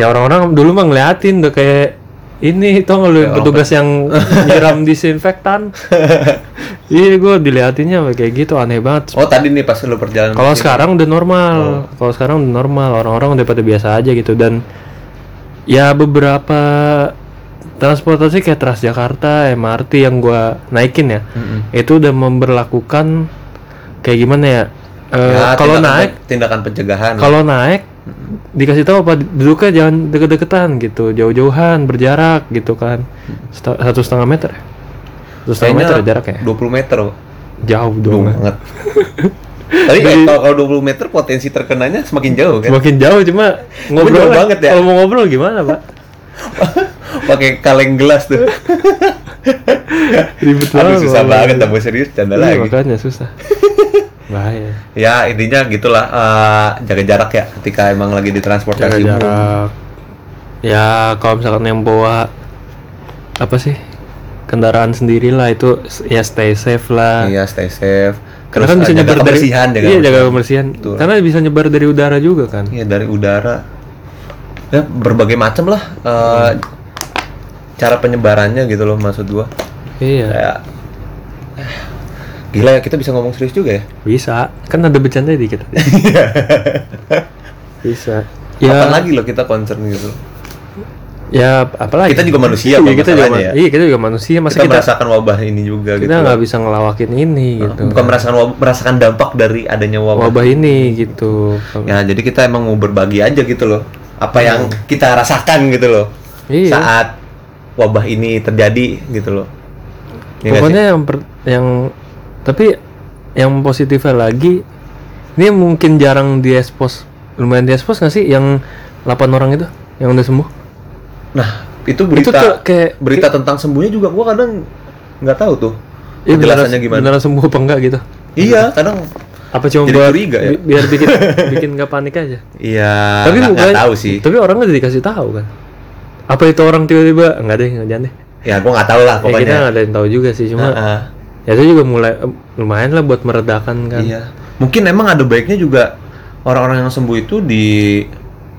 ya orang-orang dulu mah ngeliatin tuh kayak ini tau nggak lu
orang
petugas yang nyiram disinfektan iya gue diliatinnya kayak gitu aneh banget
Oh tadi nih pas lu perjalanan.
kalau
kesini.
sekarang udah normal kalau sekarang udah normal orang-orang udah pada biasa aja gitu dan ya beberapa transportasi kayak Transjakarta MRT yang gua naikin ya
Mm-mm.
itu udah memberlakukan kayak gimana ya, Eh,
Ya,
kalau
tindakan
naik
pe- tindakan pencegahan.
kalau naik dikasih tahu apa duduknya jangan deket-deketan gitu jauh-jauhan berjarak gitu kan Seta- satu setengah meter ya? satu setengah meter ya
Kayaknya
jaraknya
20 meter. Pak.
jauh
Jauh
dong
banget. Nah. [laughs] Tapi eh, kalau kalau 20 meter potensi terkenanya semakin jauh kan.
makin jauh cuma ngobrol
jauh
lah.
banget ya.
kalau mau ngobrol gimana pak
[laughs] Pakai kaleng gelas
[laughs]
tuh.
ribet
[laughs] Aduh susah
Pak.
banget tambah serius canda
Iya,
lagi.
makanya
[laughs]
susah bahaya
Ya intinya gitulah eh, jaga jarak ya ketika emang lagi di
jaga
transportasi umum.
jarak ya kalau misalkan yang bawa apa sih kendaraan sendirilah itu ya stay safe lah
Iya stay safe. Terus
Karena kan bisa
eh, jaga
nyebar dari
kebersihan jaga.
Iya, jaga
kebersihan.
kebersihan.
Betul.
Karena bisa nyebar dari udara juga kan.
Iya dari udara. Ya berbagai macam lah eh, cara penyebarannya gitu loh maksud gua.
Iya.
Kayak eh, gila ya kita bisa ngomong serius juga ya.
Bisa. Kan ada bercanda dikit.
[laughs]
bisa.
Kapan
Ya,
lagi loh kita concern gitu.
ya apalagi.
Kita juga manusia,
Iya,
Bang,
kita juga,
masalahnya ya.
iya, kita juga manusia. Masa
kita,
kita
merasakan wabah ini juga
kita
gitu.
nggak bisa ngelawakin ini gitu.
Bukan merasakan wabah, merasakan dampak dari adanya wabah.
Wabah ini gitu.
Ya, jadi kita emang mau berbagi aja gitu loh. Apa yang kita rasakan gitu loh.
Hmm. Iya.
Saat wabah ini terjadi gitu loh. Iya nggak sih?
Pokoknya yang per- yang tapi yang positifnya lagi ini mungkin jarang diekspos. Lumayan diekspos nggak sih yang 8 orang itu yang udah sembuh?
Nah, itu
Itu tuh
berita
kayak ya
berita tentang sembuhnya juga gua kadang nggak tahu tuh.
Iya beneran,
penjelasannya gimana.
beneran sembuh apa enggak gitu?
Iya, kadang
Apa cuma
Jadi
buat
curiga ya?
bi- biar
[laughs]
bikin bikin nggak panik aja?
iya
tapi
nggak- nggak
bukan-
tahu sih.
Tapi orang nggak dikasih tahu kan? Apa itu orang tiba-tiba nggak deh nggak jangan deh?
Ya, gua nggak tahu lah
Ya, kita
pokoknya. Ah,
nggak ada yang tahu juga sih cuma
Heeh.
ya itu juga mulai eh, lumayan lah buat meredakan kan?
Iya. Mungkin emang ada baiknya juga orang-orang yang sembuh itu di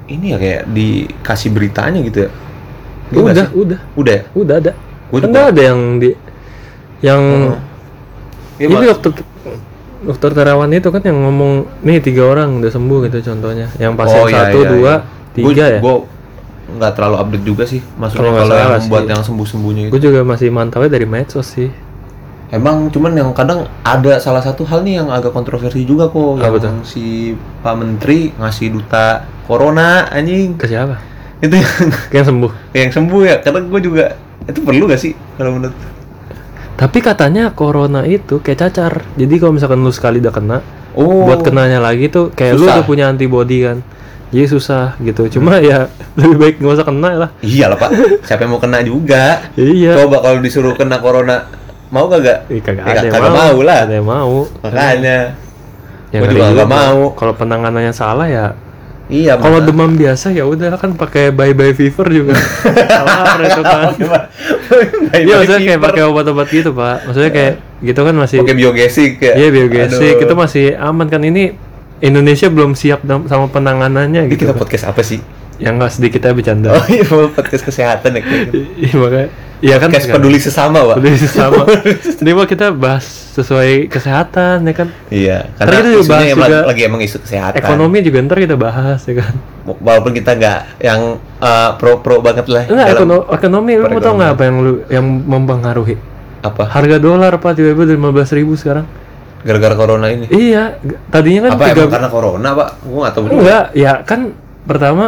ini ya kayak dikasih beritanya gitu ya. Iya nggak
udah
sih?
udah
udah ya?
udah ada.
Gua juga.
kan
Oh.
nggak ada yang di yang
Iya,
ini
Bang.
dokter dokter Terawan itu kan yang ngomong nih tiga orang udah sembuh gitu contohnya yang pasien
iya,
satu
iya,
dua
iya.
tiga
Gua-
ya
Gua nggak terlalu update juga sih. Maksudnya
Kalau nggak
kalau yang
salah
membuat
sih.
yang sembuh-sembuhnya itu.
gue juga masih mantaunya dari medsos sih
Emang cuman yang kadang ada salah satu hal nih yang agak kontroversi juga kok yang
Apa tuh?
si Pak Menteri ngasih duta corona anjing.
ke siapa
Itu yang [laughs]
yang sembuh
yang sembuh ya. Karena gue juga itu perlu gak sih kalau menurut
tapi katanya corona itu kayak cacar jadi kalau misalkan lu sekali udah kena
Oh,
buat kenanya lagi tuh kayak lu
Susah.
udah punya antibody kan jadi susah gitu cuma ya [laughs] lebih baik nggak usah kena lah
Iyalah Pak, siapa yang mau kena juga?
iya
Coba kalau disuruh kena corona, mau gak gak?
Ih, kagak
Ya,
ada yang
kagak
mau,
mau lah.
Kagak ada yang mau
Makanya,
Ya,
Gua
ngeri
juga
juga
nggak mau.
kalau penanganannya salah ya
iya. [laughs]
kalau
Bang.
demam biasa ya udah kan pakai bye bye fever
[laughs]
juga salah itu kan
Bye-bye
Iya maksudnya kayak
fever. Iya.
pakai obat-obat gitu pak Maksudnya kayak gitu kan masih
pakai biogesik ya.
Iya biogesik
Aduh.
itu masih aman kan ini Indonesia belum siap dam- sama
Ini
penanganannya gitu.
kita podcast apa sih?
Yang nggak sedikit aja bercanda.
Oh iya, mau podcast kesehatan ya kayaknya.
[laughs] Iya makanya. Iya kan.
Podcast
kan?
peduli sesama, Pak.
Peduli sama. Ini mah kita bahas sesuai kesehatan ya kan.
Iya,
Ntar
karena
kita juga
isunya
bahas
emang
juga
lagi emang isu kesehatan.
Ekonomi juga ntar kita bahas ya kan.
Walaupun kita nggak yang eh, pro-pro banget lah
Enggak
dalam
ekono- ekonomi lu mau tau nggak apa yang lu yang mempengaruhi?
apa?
Harga dolar pak tiba-tiba lima belas ribu sekarang.
Gara-gara corona ini.
Iya. g- Tadinya kan
Apa
tiga-
emang karena corona, Pak? Gua nggak tahu juga.
Enggak, ya kan pertama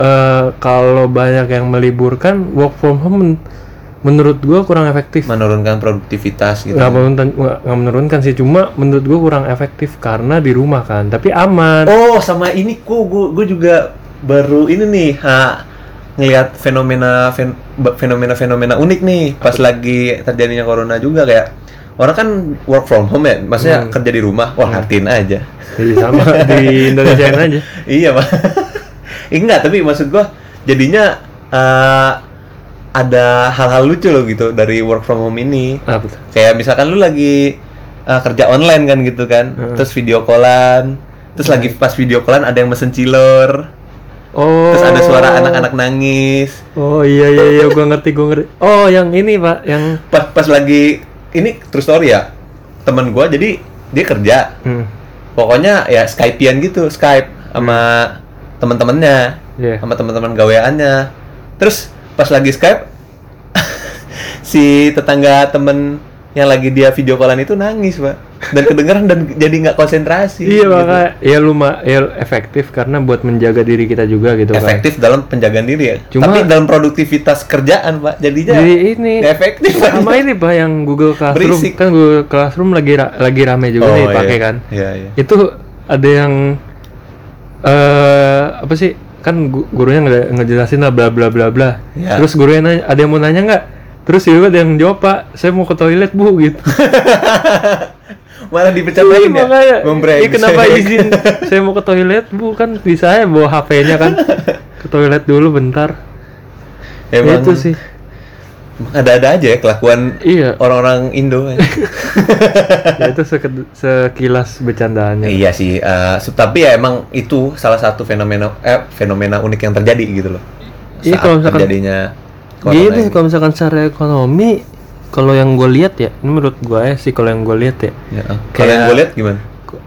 eh kalau banyak yang meliburkan work from home men- menurut gua kurang efektif.
menurunkan produktivitas Nah, gitu.
Nggak menurunkan, nggak nggak menurunkan sih, cuma menurut gua kurang efektif karena di rumah kan, tapi
[laughs]
aman.
Oh, sama ini ku gua, gua juga baru ini nih, ha, ngelihat fenomena fen- ba- fenomena-fenomena unik nih pas lagi terjadinya corona juga kayak orang kan work from home ya, maksudnya kerja di rumah. Wah, ngertiin aja. [laughs]
Jadi sama di Indonesia ya. aja.
iya, Pak. Ih, [laughs] Enggak, tapi maksud gua jadinya eh, ada hal-hal lucu loh gitu dari work from home ini.
Apa tuh?
kayak misalkan lu lagi uh, kerja online kan gitu kan terus video callan terus lagi pas video callan ada yang mesen cilor
Oh.
Terus ada suara anak-anak nangis.
Oh iya iya iya gua ngerti gua ngerti. Oh yang ini Pak yang
Pas pas lagi ini true story ya. Temen gua jadi dia kerja.
hmm.
Pokoknya ya Skypean gitu, Skype sama teman-temannya,
Iya.
sama teman-teman gaweannya. Terus pas lagi Skype [laughs] si tetangga temen yang lagi dia video callan itu nangis, Pak. Dan kedengeran dan jadi nggak konsentrasi.
Iya
gitu.
makanya ya luma ya efektif karena buat menjaga diri kita juga gitu kan.
efektif dalam penjagaan diri ya.
Cuma-
Tapi dalam produktivitas kerjaan, Pak, jadinya
Jadi ini
nggak efektif. Pak.
sama ini Pak yang Google Classroom
Berisik.
kan Google Classroom lagi ra- lagi rame juga nih
iya.
pakai kan.
Iya, iya.
Itu ada yang eh apa sih kan gu- gurunya nge- ngejelasin lah bla bla bla bla.
Iya.
Terus gurunya nanya, ada yang mau nanya nggak? Terus juga ada yang jawab Pak, saya mau ke toilet bu
[laughs]
gitu.
Malah dipecat
Iya,
lagi ya.
makanya.
Membreng.
Iya,
[laughs]
kenapa izin? saya mau ke toilet, Bu. Kan bisa ya bawa HP-nya kan. ke toilet dulu bentar. Ya,
Emang
itu sih.
Ada-ada aja ya kelakuan
Iya.
orang-orang Indo.
[laughs] Ya, itu seke- sekilas bercandaannya.
iya sih, eh, se- tapi ya emang itu salah satu fenomena eh, fenomena unik yang terjadi gitu loh.
Iya,
Saat
kalau misalkan-
terjadinya corona
Gini
ini.
Iya kalau misalkan secara ekonomi kalau yang gue lihat ya, ini menurut gue sih kalau yang gue lihat ya,
Ya, eh.
kayak-
Kalau yang gue lihat gimana?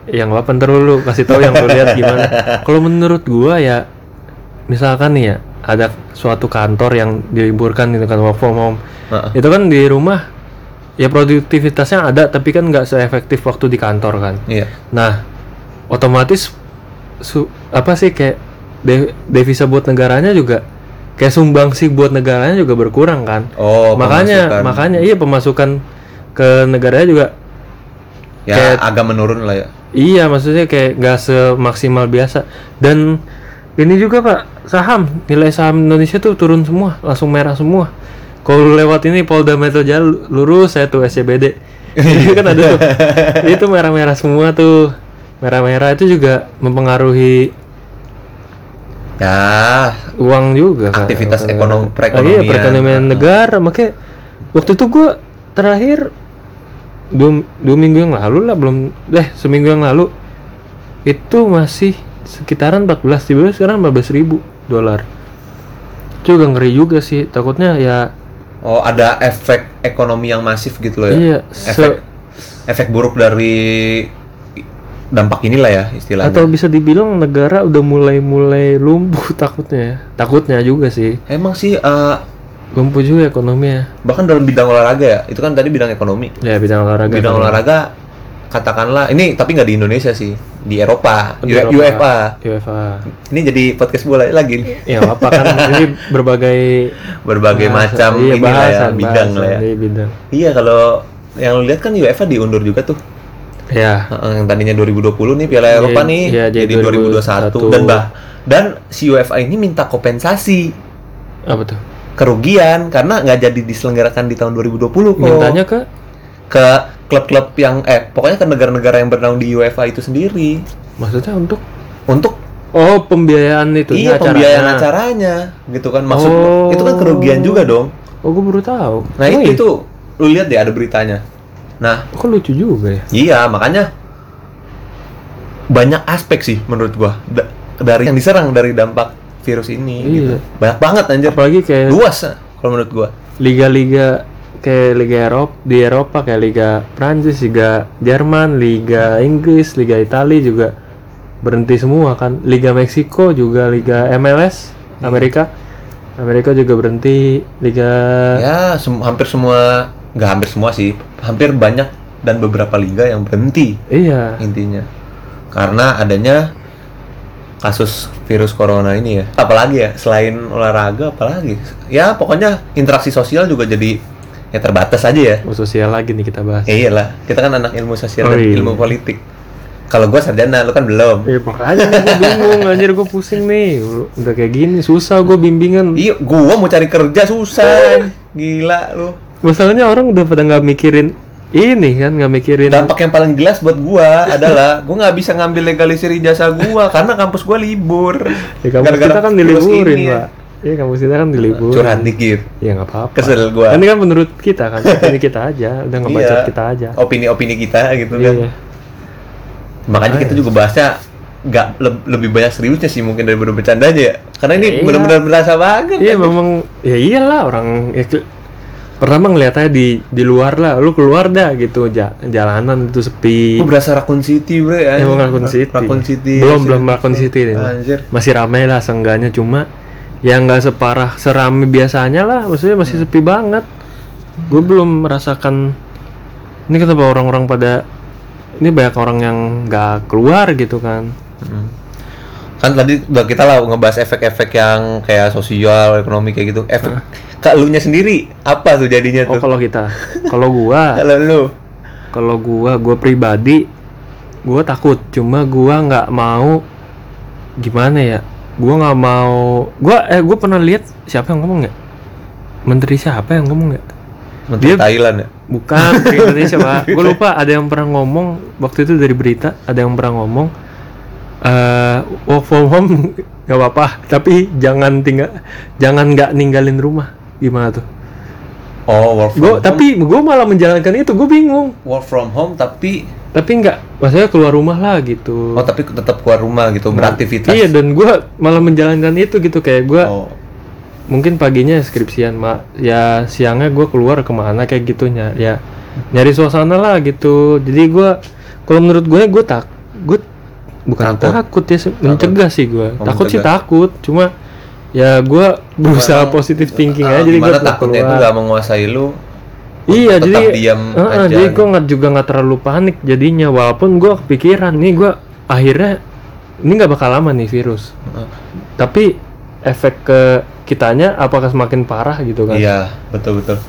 yang apa ntar lu kasih tahu yang gue lihat gimana. Kalau menurut gue ya, misalkan nih ya, ada suatu kantor yang diliburkan gitu kan work from home.
Heeh.
itu kan di rumah ya produktivitasnya ada tapi kan nggak seefektif waktu di kantor kan
Iya.
nah otomatis su- apa sih kayak de- devisa buat negaranya juga kayak sumbangsi buat negaranya juga berkurang kan
Oh,
makanya
pemasukan.
makanya iya pemasukan ke negaranya juga
ya
kayak-
agak menurun lah ya.
iya maksudnya kayak nggak semaksimal biasa dan ini juga pak saham nilai saham Indonesia tuh turun semua langsung merah semua kalau lu lewat ini Polda Metro Jaya lu- lurus saya tuh
[laughs]
SCBD Jadi kan ada tuh itu merah-merah semua tuh merah-merah itu juga mempengaruhi
Ya,
uang juga Kak.
Aktivitas
Bukan-
ekonomi-
Ah,
perekonomian.
iya perekonomian negara makanya waktu itu gua terakhir dua, dua minggu yang lalu lah belum deh seminggu yang lalu itu masih sekitaran 14 ribu sekarang 14 ribu dolar itu juga ngeri juga sih takutnya ya
oh ada efek ekonomi yang masif gitu loh ya.
iya
efek
se-
efek buruk dari dampak inilah ya istilahnya.
atau bisa dibilang negara udah mulai-mulai lumpuh [laughs] takutnya ya. takutnya juga sih
Emang sih eh,
lumpuh juga ekonominya
bahkan dalam bidang olahraga ya itu kan tadi bidang ekonomi.
ya bidang olahraga
Bidang
kan.
olahraga katakanlah ini tapi nggak di Indonesia sih di Eropa, U-
Di Eropa.
UEFA.
UEFA
Ini jadi podcast bola lagi nih.
Ya nggak apa
[laughs]
kan ini berbagai
berbagai
bahasa.
macam
Iya,
inilah
bahasan,
ya, bidang
bahasan.
lah ya.
Iya, bidang.
Iya kalau yang lu lihat kan UEFA diundur juga tuh.
Ya,
Heeh, yang tadinya 2020 nih Piala Eropa nih
iya, jadi
jadi 2021,
2021.
dan bah dan si UEFA ini minta kompensasi
apa tuh?
kerugian karena nggak jadi diselenggarakan di tahun 2020 kok.
Mintanya ke
ke klub-klub yang eh pokoknya ke negara-negara yang bernaung di UEFA itu sendiri
maksudnya untuk
untuk
oh pembiayaan itu Ah.
iya pembiayaan acaranya gitu kan maksud
Oh.
itu kan kerugian juga dong.
Oh, iya. gue baru tahu.
Nah
Emang
itu, itu lu lihat deh ada beritanya. Nah
iya? kok lucu juga ya.
iya makanya banyak aspek sih menurut gua da- dari yang diserang dari dampak virus ini
Iya.
gitu. banyak banget anjir
Apalagi kayak
luas ah, kalau menurut gua
liga-liga kayak Liga Eropa di Eropa kayak Liga Prancis, Liga Jerman, Liga Inggris, Liga Italia juga berhenti semua kan. Liga Meksiko juga Liga MLS
Hmm.
Amerika. Amerika juga berhenti Liga
ya sem- hampir semua nggak hampir semua sih hampir banyak dan beberapa liga yang berhenti
Iya.
intinya karena adanya kasus virus corona ini ya apalagi ya selain olahraga apalagi ya pokoknya interaksi sosial juga jadi ya terbatas aja ya
Oh, sosial lagi nih kita bahas.
ya iyalah kita kan anak ilmu sosial
Oh,
dan
iya.
ilmu politik kalau gua sarjana lu kan belum
Iya makanya nih, gue bingung anjir gue pusing nih udah kayak gini susah gue bimbingan
iya gua mau cari kerja susah gila lu
masalahnya orang udah pada nggak mikirin ini kan nggak mikirin
dampak yang paling jelas buat gua adalah gua nggak bisa ngambil legalisir ijazah gua karena kampus gua libur
ya kampus kita kan
virus
diliburin
ini ya.
pak iya kampus kita kan diliburin
curhat dikit
ya nggak apa-apa
kesel gua
ini kan menurut kita kan ini kita aja udah ngebacot
Iya.
kita aja
opini-opini kita gitu kan
iya
makanya kita juga bahasnya nggak leb- lebih banyak seriusnya sih mungkin daripada bercanda aja ya. Karena ini
Iya.
benar-benar berasa banget.
Iya memang ya iyalah orang ya, ke- pertama ngeliat aja di di luar lah, lu keluar dah gitu ja- jalanan itu sepi.
Gue berasa Raccoon City bro ya.
Emang
anjir.
Raccoon Iya, City.
Raccoon City.
Belum
City.
belum Raccoon City ini.
Anjir.
Masih ramai lah seenggaknya cuma ya nggak separah serame biasanya lah, maksudnya
Hmm.
masih sepi banget. Gue belum merasakan ini kenapa orang-orang pada ini banyak orang yang nggak keluar gitu kan.
Mm. Kan tadi udah kita lah ngebahas efek-efek yang kayak sosial, ekonomi kayak gitu. Efek kak lu nya sendiri apa tuh jadinya [laughs]
Oh
tuh?
kalau kita, kalau gua
Kalau lu
Kalau gua, gua pribadi, gua takut. Cuma gua nggak mau gimana ya? Gua nggak mau. Gua eh gua pernah lihat siapa yang ngomong nggak? Menteri siapa yang ngomong nggak?
menteri
Dia-
Thailand ya?
Bukan Menteri Indonesia pak. [laughs] Gua lupa ada yang pernah ngomong waktu itu dari berita ada yang pernah ngomong eh work from home [laughs] nggak apa-apa, tapi jangan tinggal, jangan nggak ninggalin rumah. Gimana tuh?
Oh, work from
Gua
home.
tapi gua malah menjalankan itu. Gue bingung.
work from home tapi
Tapi nggak, maksudnya keluar rumah lah gitu.
oh tapi tetap keluar rumah gitu beraktivitas.
Iya dan gua malah menjalankan itu gitu kayak gua
Oh.
mungkin paginya skripsian mak ya siangnya gua keluar kemana kayak gitunya ya nyari suasana lah gitu jadi gua kalau menurut gue gue tak gue bukan
Takut.
takut, ya se- mencegah sih gua
Oh,
takut sih
mencegah.
takut cuma ya gua berusaha
Emang,
positif thinking
ah,
aja jadi
gimana
gua nggak
takutnya itu
keluar.
nggak menguasai lu
Iya
tetap
jadi
diam
Heeh,
aja gitu.
jadi gue nggak juga nggak terlalu panik jadinya walaupun gue kepikiran nih gue akhirnya ini nggak bakal lama nih virus
Heeh.
tapi efek ke kitanya apakah semakin parah gitu kan?
Iya, betul-betul.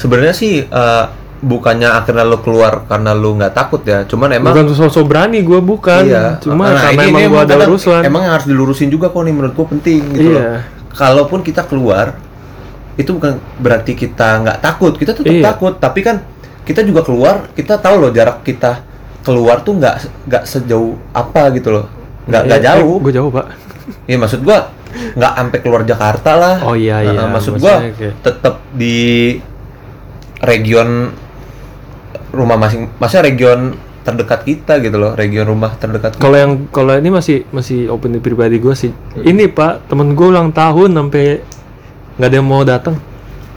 Sebenarnya sih eh, bukannya akhirnya lu keluar karena lu nggak takut ya. Cuman emang
bukan sosok berani gue bukan,
iya.
cuma
Nah,
karena
ini-
emang
ini
gue ada
kadang-
urusan.
Emang gitu yang harus dilurusin juga kok nih menurut gua penting gitu
Iya.
loh. Kalaupun kita keluar itu bukan berarti kita nggak takut. Kita tetap
Iya.
takut, tapi kan kita juga keluar, kita tahu loh jarak kita keluar tuh nggak nggak sejauh apa gitu loh. Nggak nggak jauh.
gue Eh, jauh pak.
Iya maksud gua nggak sampai keluar Jakarta lah.
Oh, iya,
Nah,
iya.
maksud gua
Maksudnya kayak-
tetap di region rumah masing, maksudnya region terdekat kita gitu loh, region rumah terdekat. kita.
Kalau yang kalau ini masih masih open di pribadi gue sih.
Hmm.
Ini pak temen gue ulang tahun sampai nggak ada yang mau datang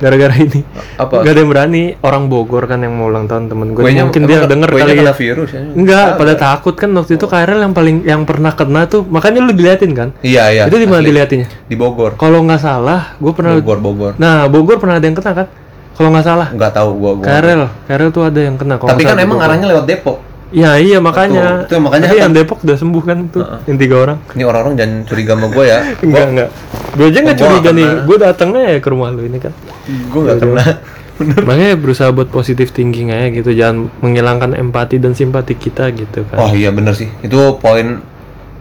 gara-gara ini.
Apa?
Gak ada yang berani. Orang Bogor kan yang mau ulang tahun temen gue.
Kuenya-
Mungkin dia
emang
denger
kuenya Oh.
kali ya.
kena virus ya.
Enggak, pada takut kan waktu itu KRL yang paling yang pernah kena tuh makanya lu diliatin kan?
Iya iya.
itu di
asli.
mana diliatinnya?
Di Bogor.
Kalau nggak salah, gue pernah.
Bogor Bogor.
Nah Bogor pernah ada yang kena kan? Kalau nggak salah,
Nggak tahu gua. gua.
KRL, KRL tuh ada yang kena. kalau
Tapi
nggak
kan
salah di
emang
Bogor.
arahnya lewat Depok.
Ya iya makanya.
Betul, itu makanya
Tapi
kan-
yang Depok udah sembuh kan tuh, yang tiga orang.
Ini orang-orang jangan curiga sama
[laughs]
gua ya.
Enggak enggak. Gue aja nggak
Gua nggak
curiga nih.
kena.
Gue datangnya ya ke rumah lu ini kan.
Gua nggak kena.
Makanya berusaha buat positif thinking aja gitu, jangan menghilangkan empati dan simpati kita gitu kan.
Oh iya bener sih. Itu poin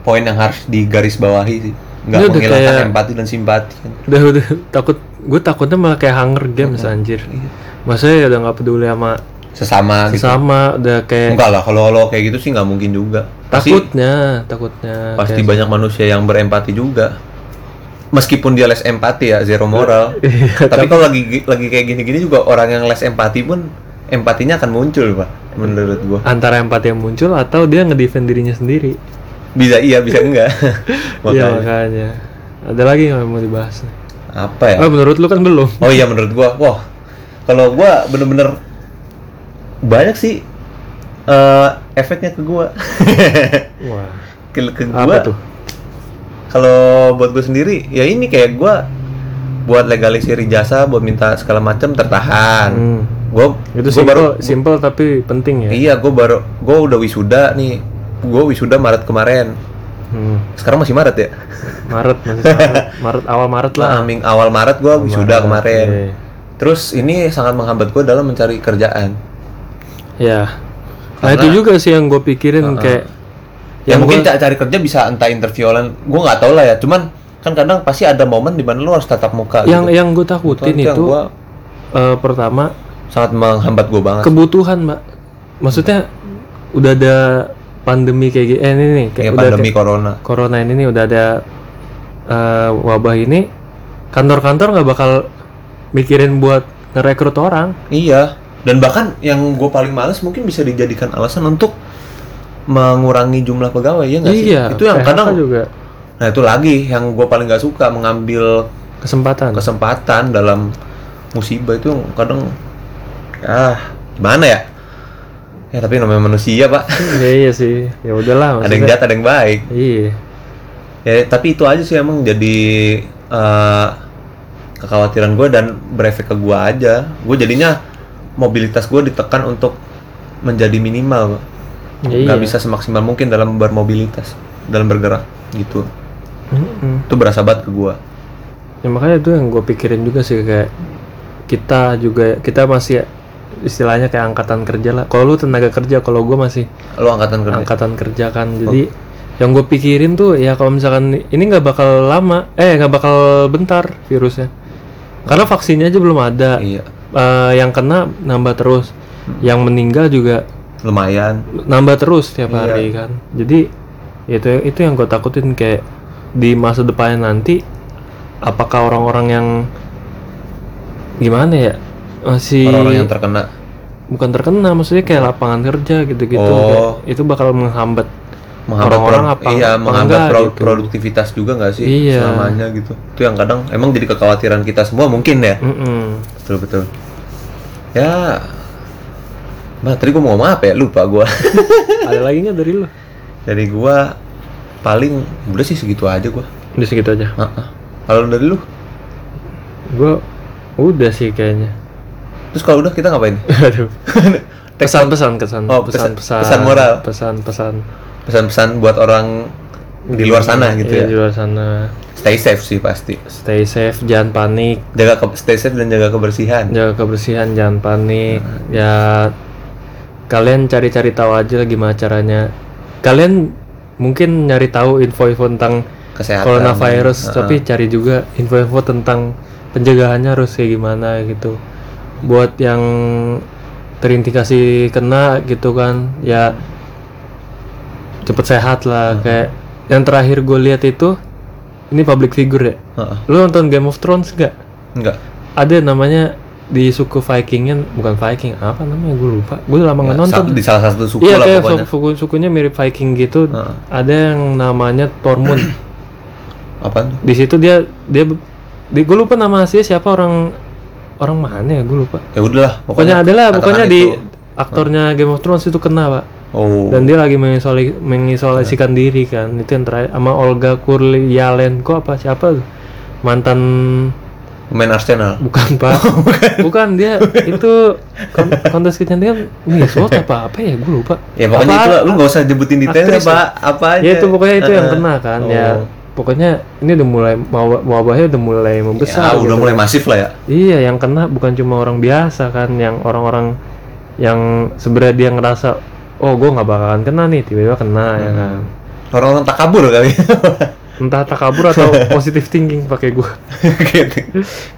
poin yang harus digarisbawahi sih. Nggak
Ini Iya, udah
menghilangkan
kayak-
empati dan simpati. kan.
udah udah takut gue takutnya malah kayak Hunger Games anjir maksudnya ya udah nggak peduli sama
Sesama, Iya. gitu.
sesama udah kayak
Enggak lah, kalau kalau kayak gitu sih nggak mungkin juga. Pasti
takutnya takutnya
pasti banyak manusia yang berempati juga. Meskipun dia less empati ya, zero moral.
[laughs] Iya,
tapi kalau lagi lagi kayak gini-gini juga orang yang less empati pun empatinya akan muncul, Pak. Menurut gua.
antara empati yang muncul atau dia ngedefend dirinya sendiri
Bisa iya, bisa
[laughs]
enggak.
iya
Makanya
makanya ada lagi yang mau dibahas nih
apa ya?
oh menurut lu kan belum
Oh iya menurut gua, wah kalau gua bener-bener banyak sih eh, efeknya ke
[laughs]
gua.
wah
ke, ke
apa
gua.
tuh
Kalau buat gua sendiri, ya ini kayak gua buat legalisir jasa, buat minta segala macam tertahan.
hmm.
Gua kan.
itu oh,
gua
simple
baru
simple tapi penting ya
iya gua baru gua udah wisuda nih. Gua wisuda Maret kemarin.
hmm.
Sekarang masih Maret ya?
Maret
[laughs]
masih Maret, Maret awal Maret lah
Lah, aming awal Maret gua wisuda
Maret,
kemarin.
iya.
Terus ini sangat menghambat gua dalam mencari kerjaan.
ya nah itu juga sih yang gue pikirin kayak
ya mungkin ca- cari kerja bisa entah interview online gue nggak tahu lah ya cuman kan kadang pasti ada momen di mana lu harus tatap muka
yang
gitu.
yang gue takutin
Itu yang
itu
gua-
eh, pertama
sangat menghambat gue banget
kebutuhan mbak maksudnya udah ada pandemi kayak gini eh, ini nih kayak
kayak
udah
pandemi corona
kayak corona ini nih udah ada eh, wabah ini kantor-kantor nggak bakal mikirin buat ngerekrut orang
iya dan bahkan yang gue paling males mungkin bisa dijadikan alasan untuk mengurangi jumlah pegawai ya nggak sih?
iya
itu yang
PHK
kadang.
juga
Nah itu lagi yang gue paling nggak suka mengambil
kesempatan
kesempatan dalam musibah itu kadang ah gimana ya? Ya tapi namanya manusia pak.
iya, iya sih ya udahlah
Ada yang
maksudnya-
jahat ada yang baik.
iya
Ya, tapi itu aja sih emang jadi eh, kekhawatiran gue dan berefek ke gue aja. Gue jadinya mobilitas gue ditekan untuk menjadi minimal. Pak.
Ya,
Nggak
iya.
bisa semaksimal mungkin dalam bermobilitas, dalam bergerak gitu.
Mm-mm.
Itu berasa banget ke gue.
ya makanya itu yang gue pikirin juga sih kayak kita juga kita masih istilahnya kayak angkatan kerja lah kalau lu tenaga kerja kalau gue masih
Lo angkatan kerja.
angkatan kerja kan jadi yang gue pikirin tuh ya kalau misalkan ini nggak bakal lama eh nggak bakal bentar virusnya karena vaksinnya aja belum ada
Iya,
Eh, yang kena nambah terus yang meninggal juga
lumayan.
nambah terus tiap
Iya.
hari kan jadi itu itu yang gue takutin kayak di masa depannya nanti apakah orang-orang yang gimana ya masih
Orang-orang yang terkena.
bukan terkena maksudnya kayak lapangan kerja gitu-gitu
Oh.
Kayak itu bakal menghambat
menghambat
Orang-orang
pro-
apa-
iya
apa
menghambat
enggak
pro-
gitu.
produktivitas juga nggak sih
Iya.
selamanya gitu itu yang kadang emang jadi kekhawatiran kita semua mungkin ya [laughs]
Mm-mm.
betul betul ya Nah, tadi gue mau ngomong apa ya? Lupa gue.
ada lagi nggak dari lu
[laughs] dari gue paling udah sih segitu aja gue.
udah segitu aja
Heeh. Kalau dari lu,
gue udah sih kayaknya [laughs]
terus kalau udah kita ngapain?
aduh
Take
pesan-pesan kesan
Oh, pesan- pesan moral.
pesan-pesan
Pesan-pesan buat orang di luar sana gitu
Iya,
ya.
di luar sana
Stay safe sih pasti.
stay safe jangan panik
Jaga ke- stay safe dan jaga kebersihan.
jaga kebersihan jangan panik
Nah, iya.
ya kalian cari-cari tahu aja gimana caranya kalian mungkin nyari tahu info-info tentang
Kesehatan.
coronavirus
Heeh.
tapi cari juga info-info tentang pencegahannya harus kayak gimana gitu buat yang terindikasi kena gitu kan ya cepet sehat lah kayak yang terakhir gue lihat itu ini public figure ya
Heeh.
lu nonton Game of Thrones gak?
Enggak.
ada namanya di suku Vikingnya bukan Viking apa namanya gue lupa gue udah lama nggak nonton
Sa- Di salah Ya, satu suku
iya
lah
kayak
pokoknya.
suku sukunya mirip Viking gitu
Heeh.
ada yang namanya Tormund
Apaan tuh?
di situ dia dia di gue lupa nama aslinya siapa orang orang mana ya gue lupa
Ya udahlah,
pokoknya ada lah
katakan
pokoknya di
itu.
aktornya Game of Thrones itu kena pak
Oh.
dan dia lagi mengisoli- mengisolasikan diri kan itu yang terakhir sama Olga Kurlyalenko apa siapa tuh? mantan
Main Arsenal.
Bukan pak,
Oh,
bukan
[laughs]
dia itu kon- kontes kecantikan Miss World apa apa ya gue lupa.
Ya pokoknya
Apa-
itu lu nggak usah nyebutin detailnya,
Aktris ya?
Pak. Apa aja.
Ya itu pokoknya itu yang
Heeh.
kena kan ya.
Oh.
Pokoknya ini udah mulai waw- wabahnya udah mulai
Ya, udah
membesar. gitu.
mulai masif lah ya.
Iya yang kena bukan cuma orang biasa kan, yang orang-orang yang sebenarnya dia ngerasa oh gue nggak bakalan kena nih tiba-tiba kena ya
Hmm.
kan.
Orang-orang takabur kali. [laughs]
Entah takabur atau positive thinking pakai gue.
Gitu.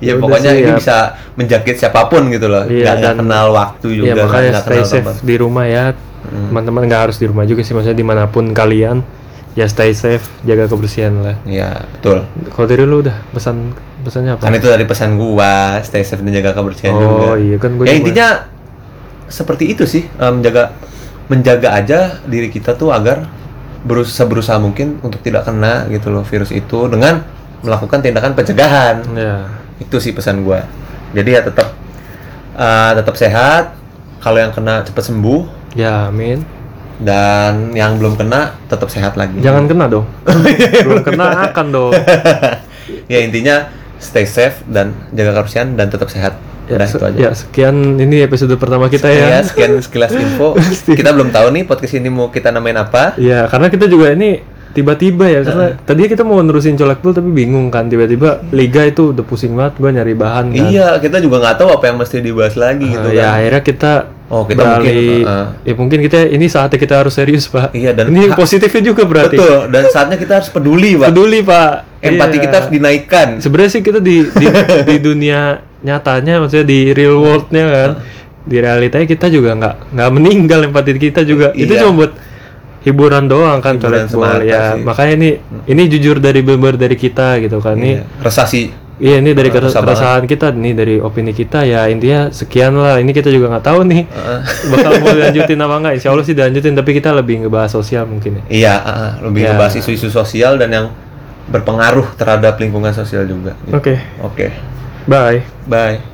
ya
Udah
pokoknya
sih,
ini
ya.
bisa menjangkit siapapun gitu loh. Nggak-
Iya,
nggak
dan-
kenal waktu juga,
Iya makanya
nggak
stay
kenal Hmm.
safe
tempat.
di rumah ya teman-teman nggak harus di rumah juga sih maksudnya dimanapun kalian ya stay safe jaga kebersihan lah
Iya, betul.
kalau dari lu udah pesan pesannya apa
Kan itu dari pesan gua, stay safe dan jaga kebersihan
oh
juga.
iya kan gue
ya intinya seperti itu sih eh, menjaga menjaga aja diri kita tuh agar berusaha berusaha mungkin untuk tidak kena gitu loh virus itu dengan melakukan tindakan pencegahan
ya
itu sih pesan gua jadi ya tetap eh, tetap sehat kalau yang kena cepat sembuh
ya amin
Hmm. dan yang belum kena tetap sehat lagi
jangan kena dong
Oh, iya,
belum kena akan dong
[laughs] ya intinya stay safe dan jaga kebersihan dan tetap sehat [laughs]
ya,
udah
se-
itu aja
ya, sekian ini episode pertama kita
Ya,
ya
sekian sekilas info. kita belum tahu nih podcast ini mau kita namain apa.
Iya, karena kita juga ini tiba-tiba
Eh.
ya karena tadinya kita mau nerusin colek dulu tapi bingung kan tiba-tiba liga itu udah pusing banget gue nyari bahan kan
Iya, kita juga nggak tahu apa yang mesti dibahas lagi gitu
ya
kan.
akhirnya kita
Oh, kita
beralih-
mungkin, uh,
ya mungkin kita ini saatnya kita harus serius pak
Iya, dan-
ini yang positifnya juga berarti
Betul, dan saatnya kita harus peduli, Pak.
peduli pak
Empati
Iya.
kita harus dinaikkan.
sebenarnya sih kita di
[laughs]
di, di dunia nyatanya maksudnya di real worldnya kan di realitanya kita juga nggak nggak meninggal empati kita juga itu
Iya.
cuma buat hiburan doang kan
Hiburan
colek bola
semata
ya
sih. Hmm.
makanya ini ini jujur dari bener dari kita gitu kan ini
Iya. Resah sih
Iya ini dari
Nah,
keres-
susah banget.
keresahan kita nih dari opini kita ya intinya sekian lah ini kita juga nggak tahu nih
Heeh.
[laughs] bakal mau
[laughs]
dilanjutin apa nggak Insya Allah sih dilanjutin tapi kita lebih ngebahas sosial mungkin ya
Iya, heeh, lebih
Ya.
ngebahas isu-isu sosial dan yang berpengaruh terhadap lingkungan sosial juga. gitu.
Oke
Oke,
bye
bye.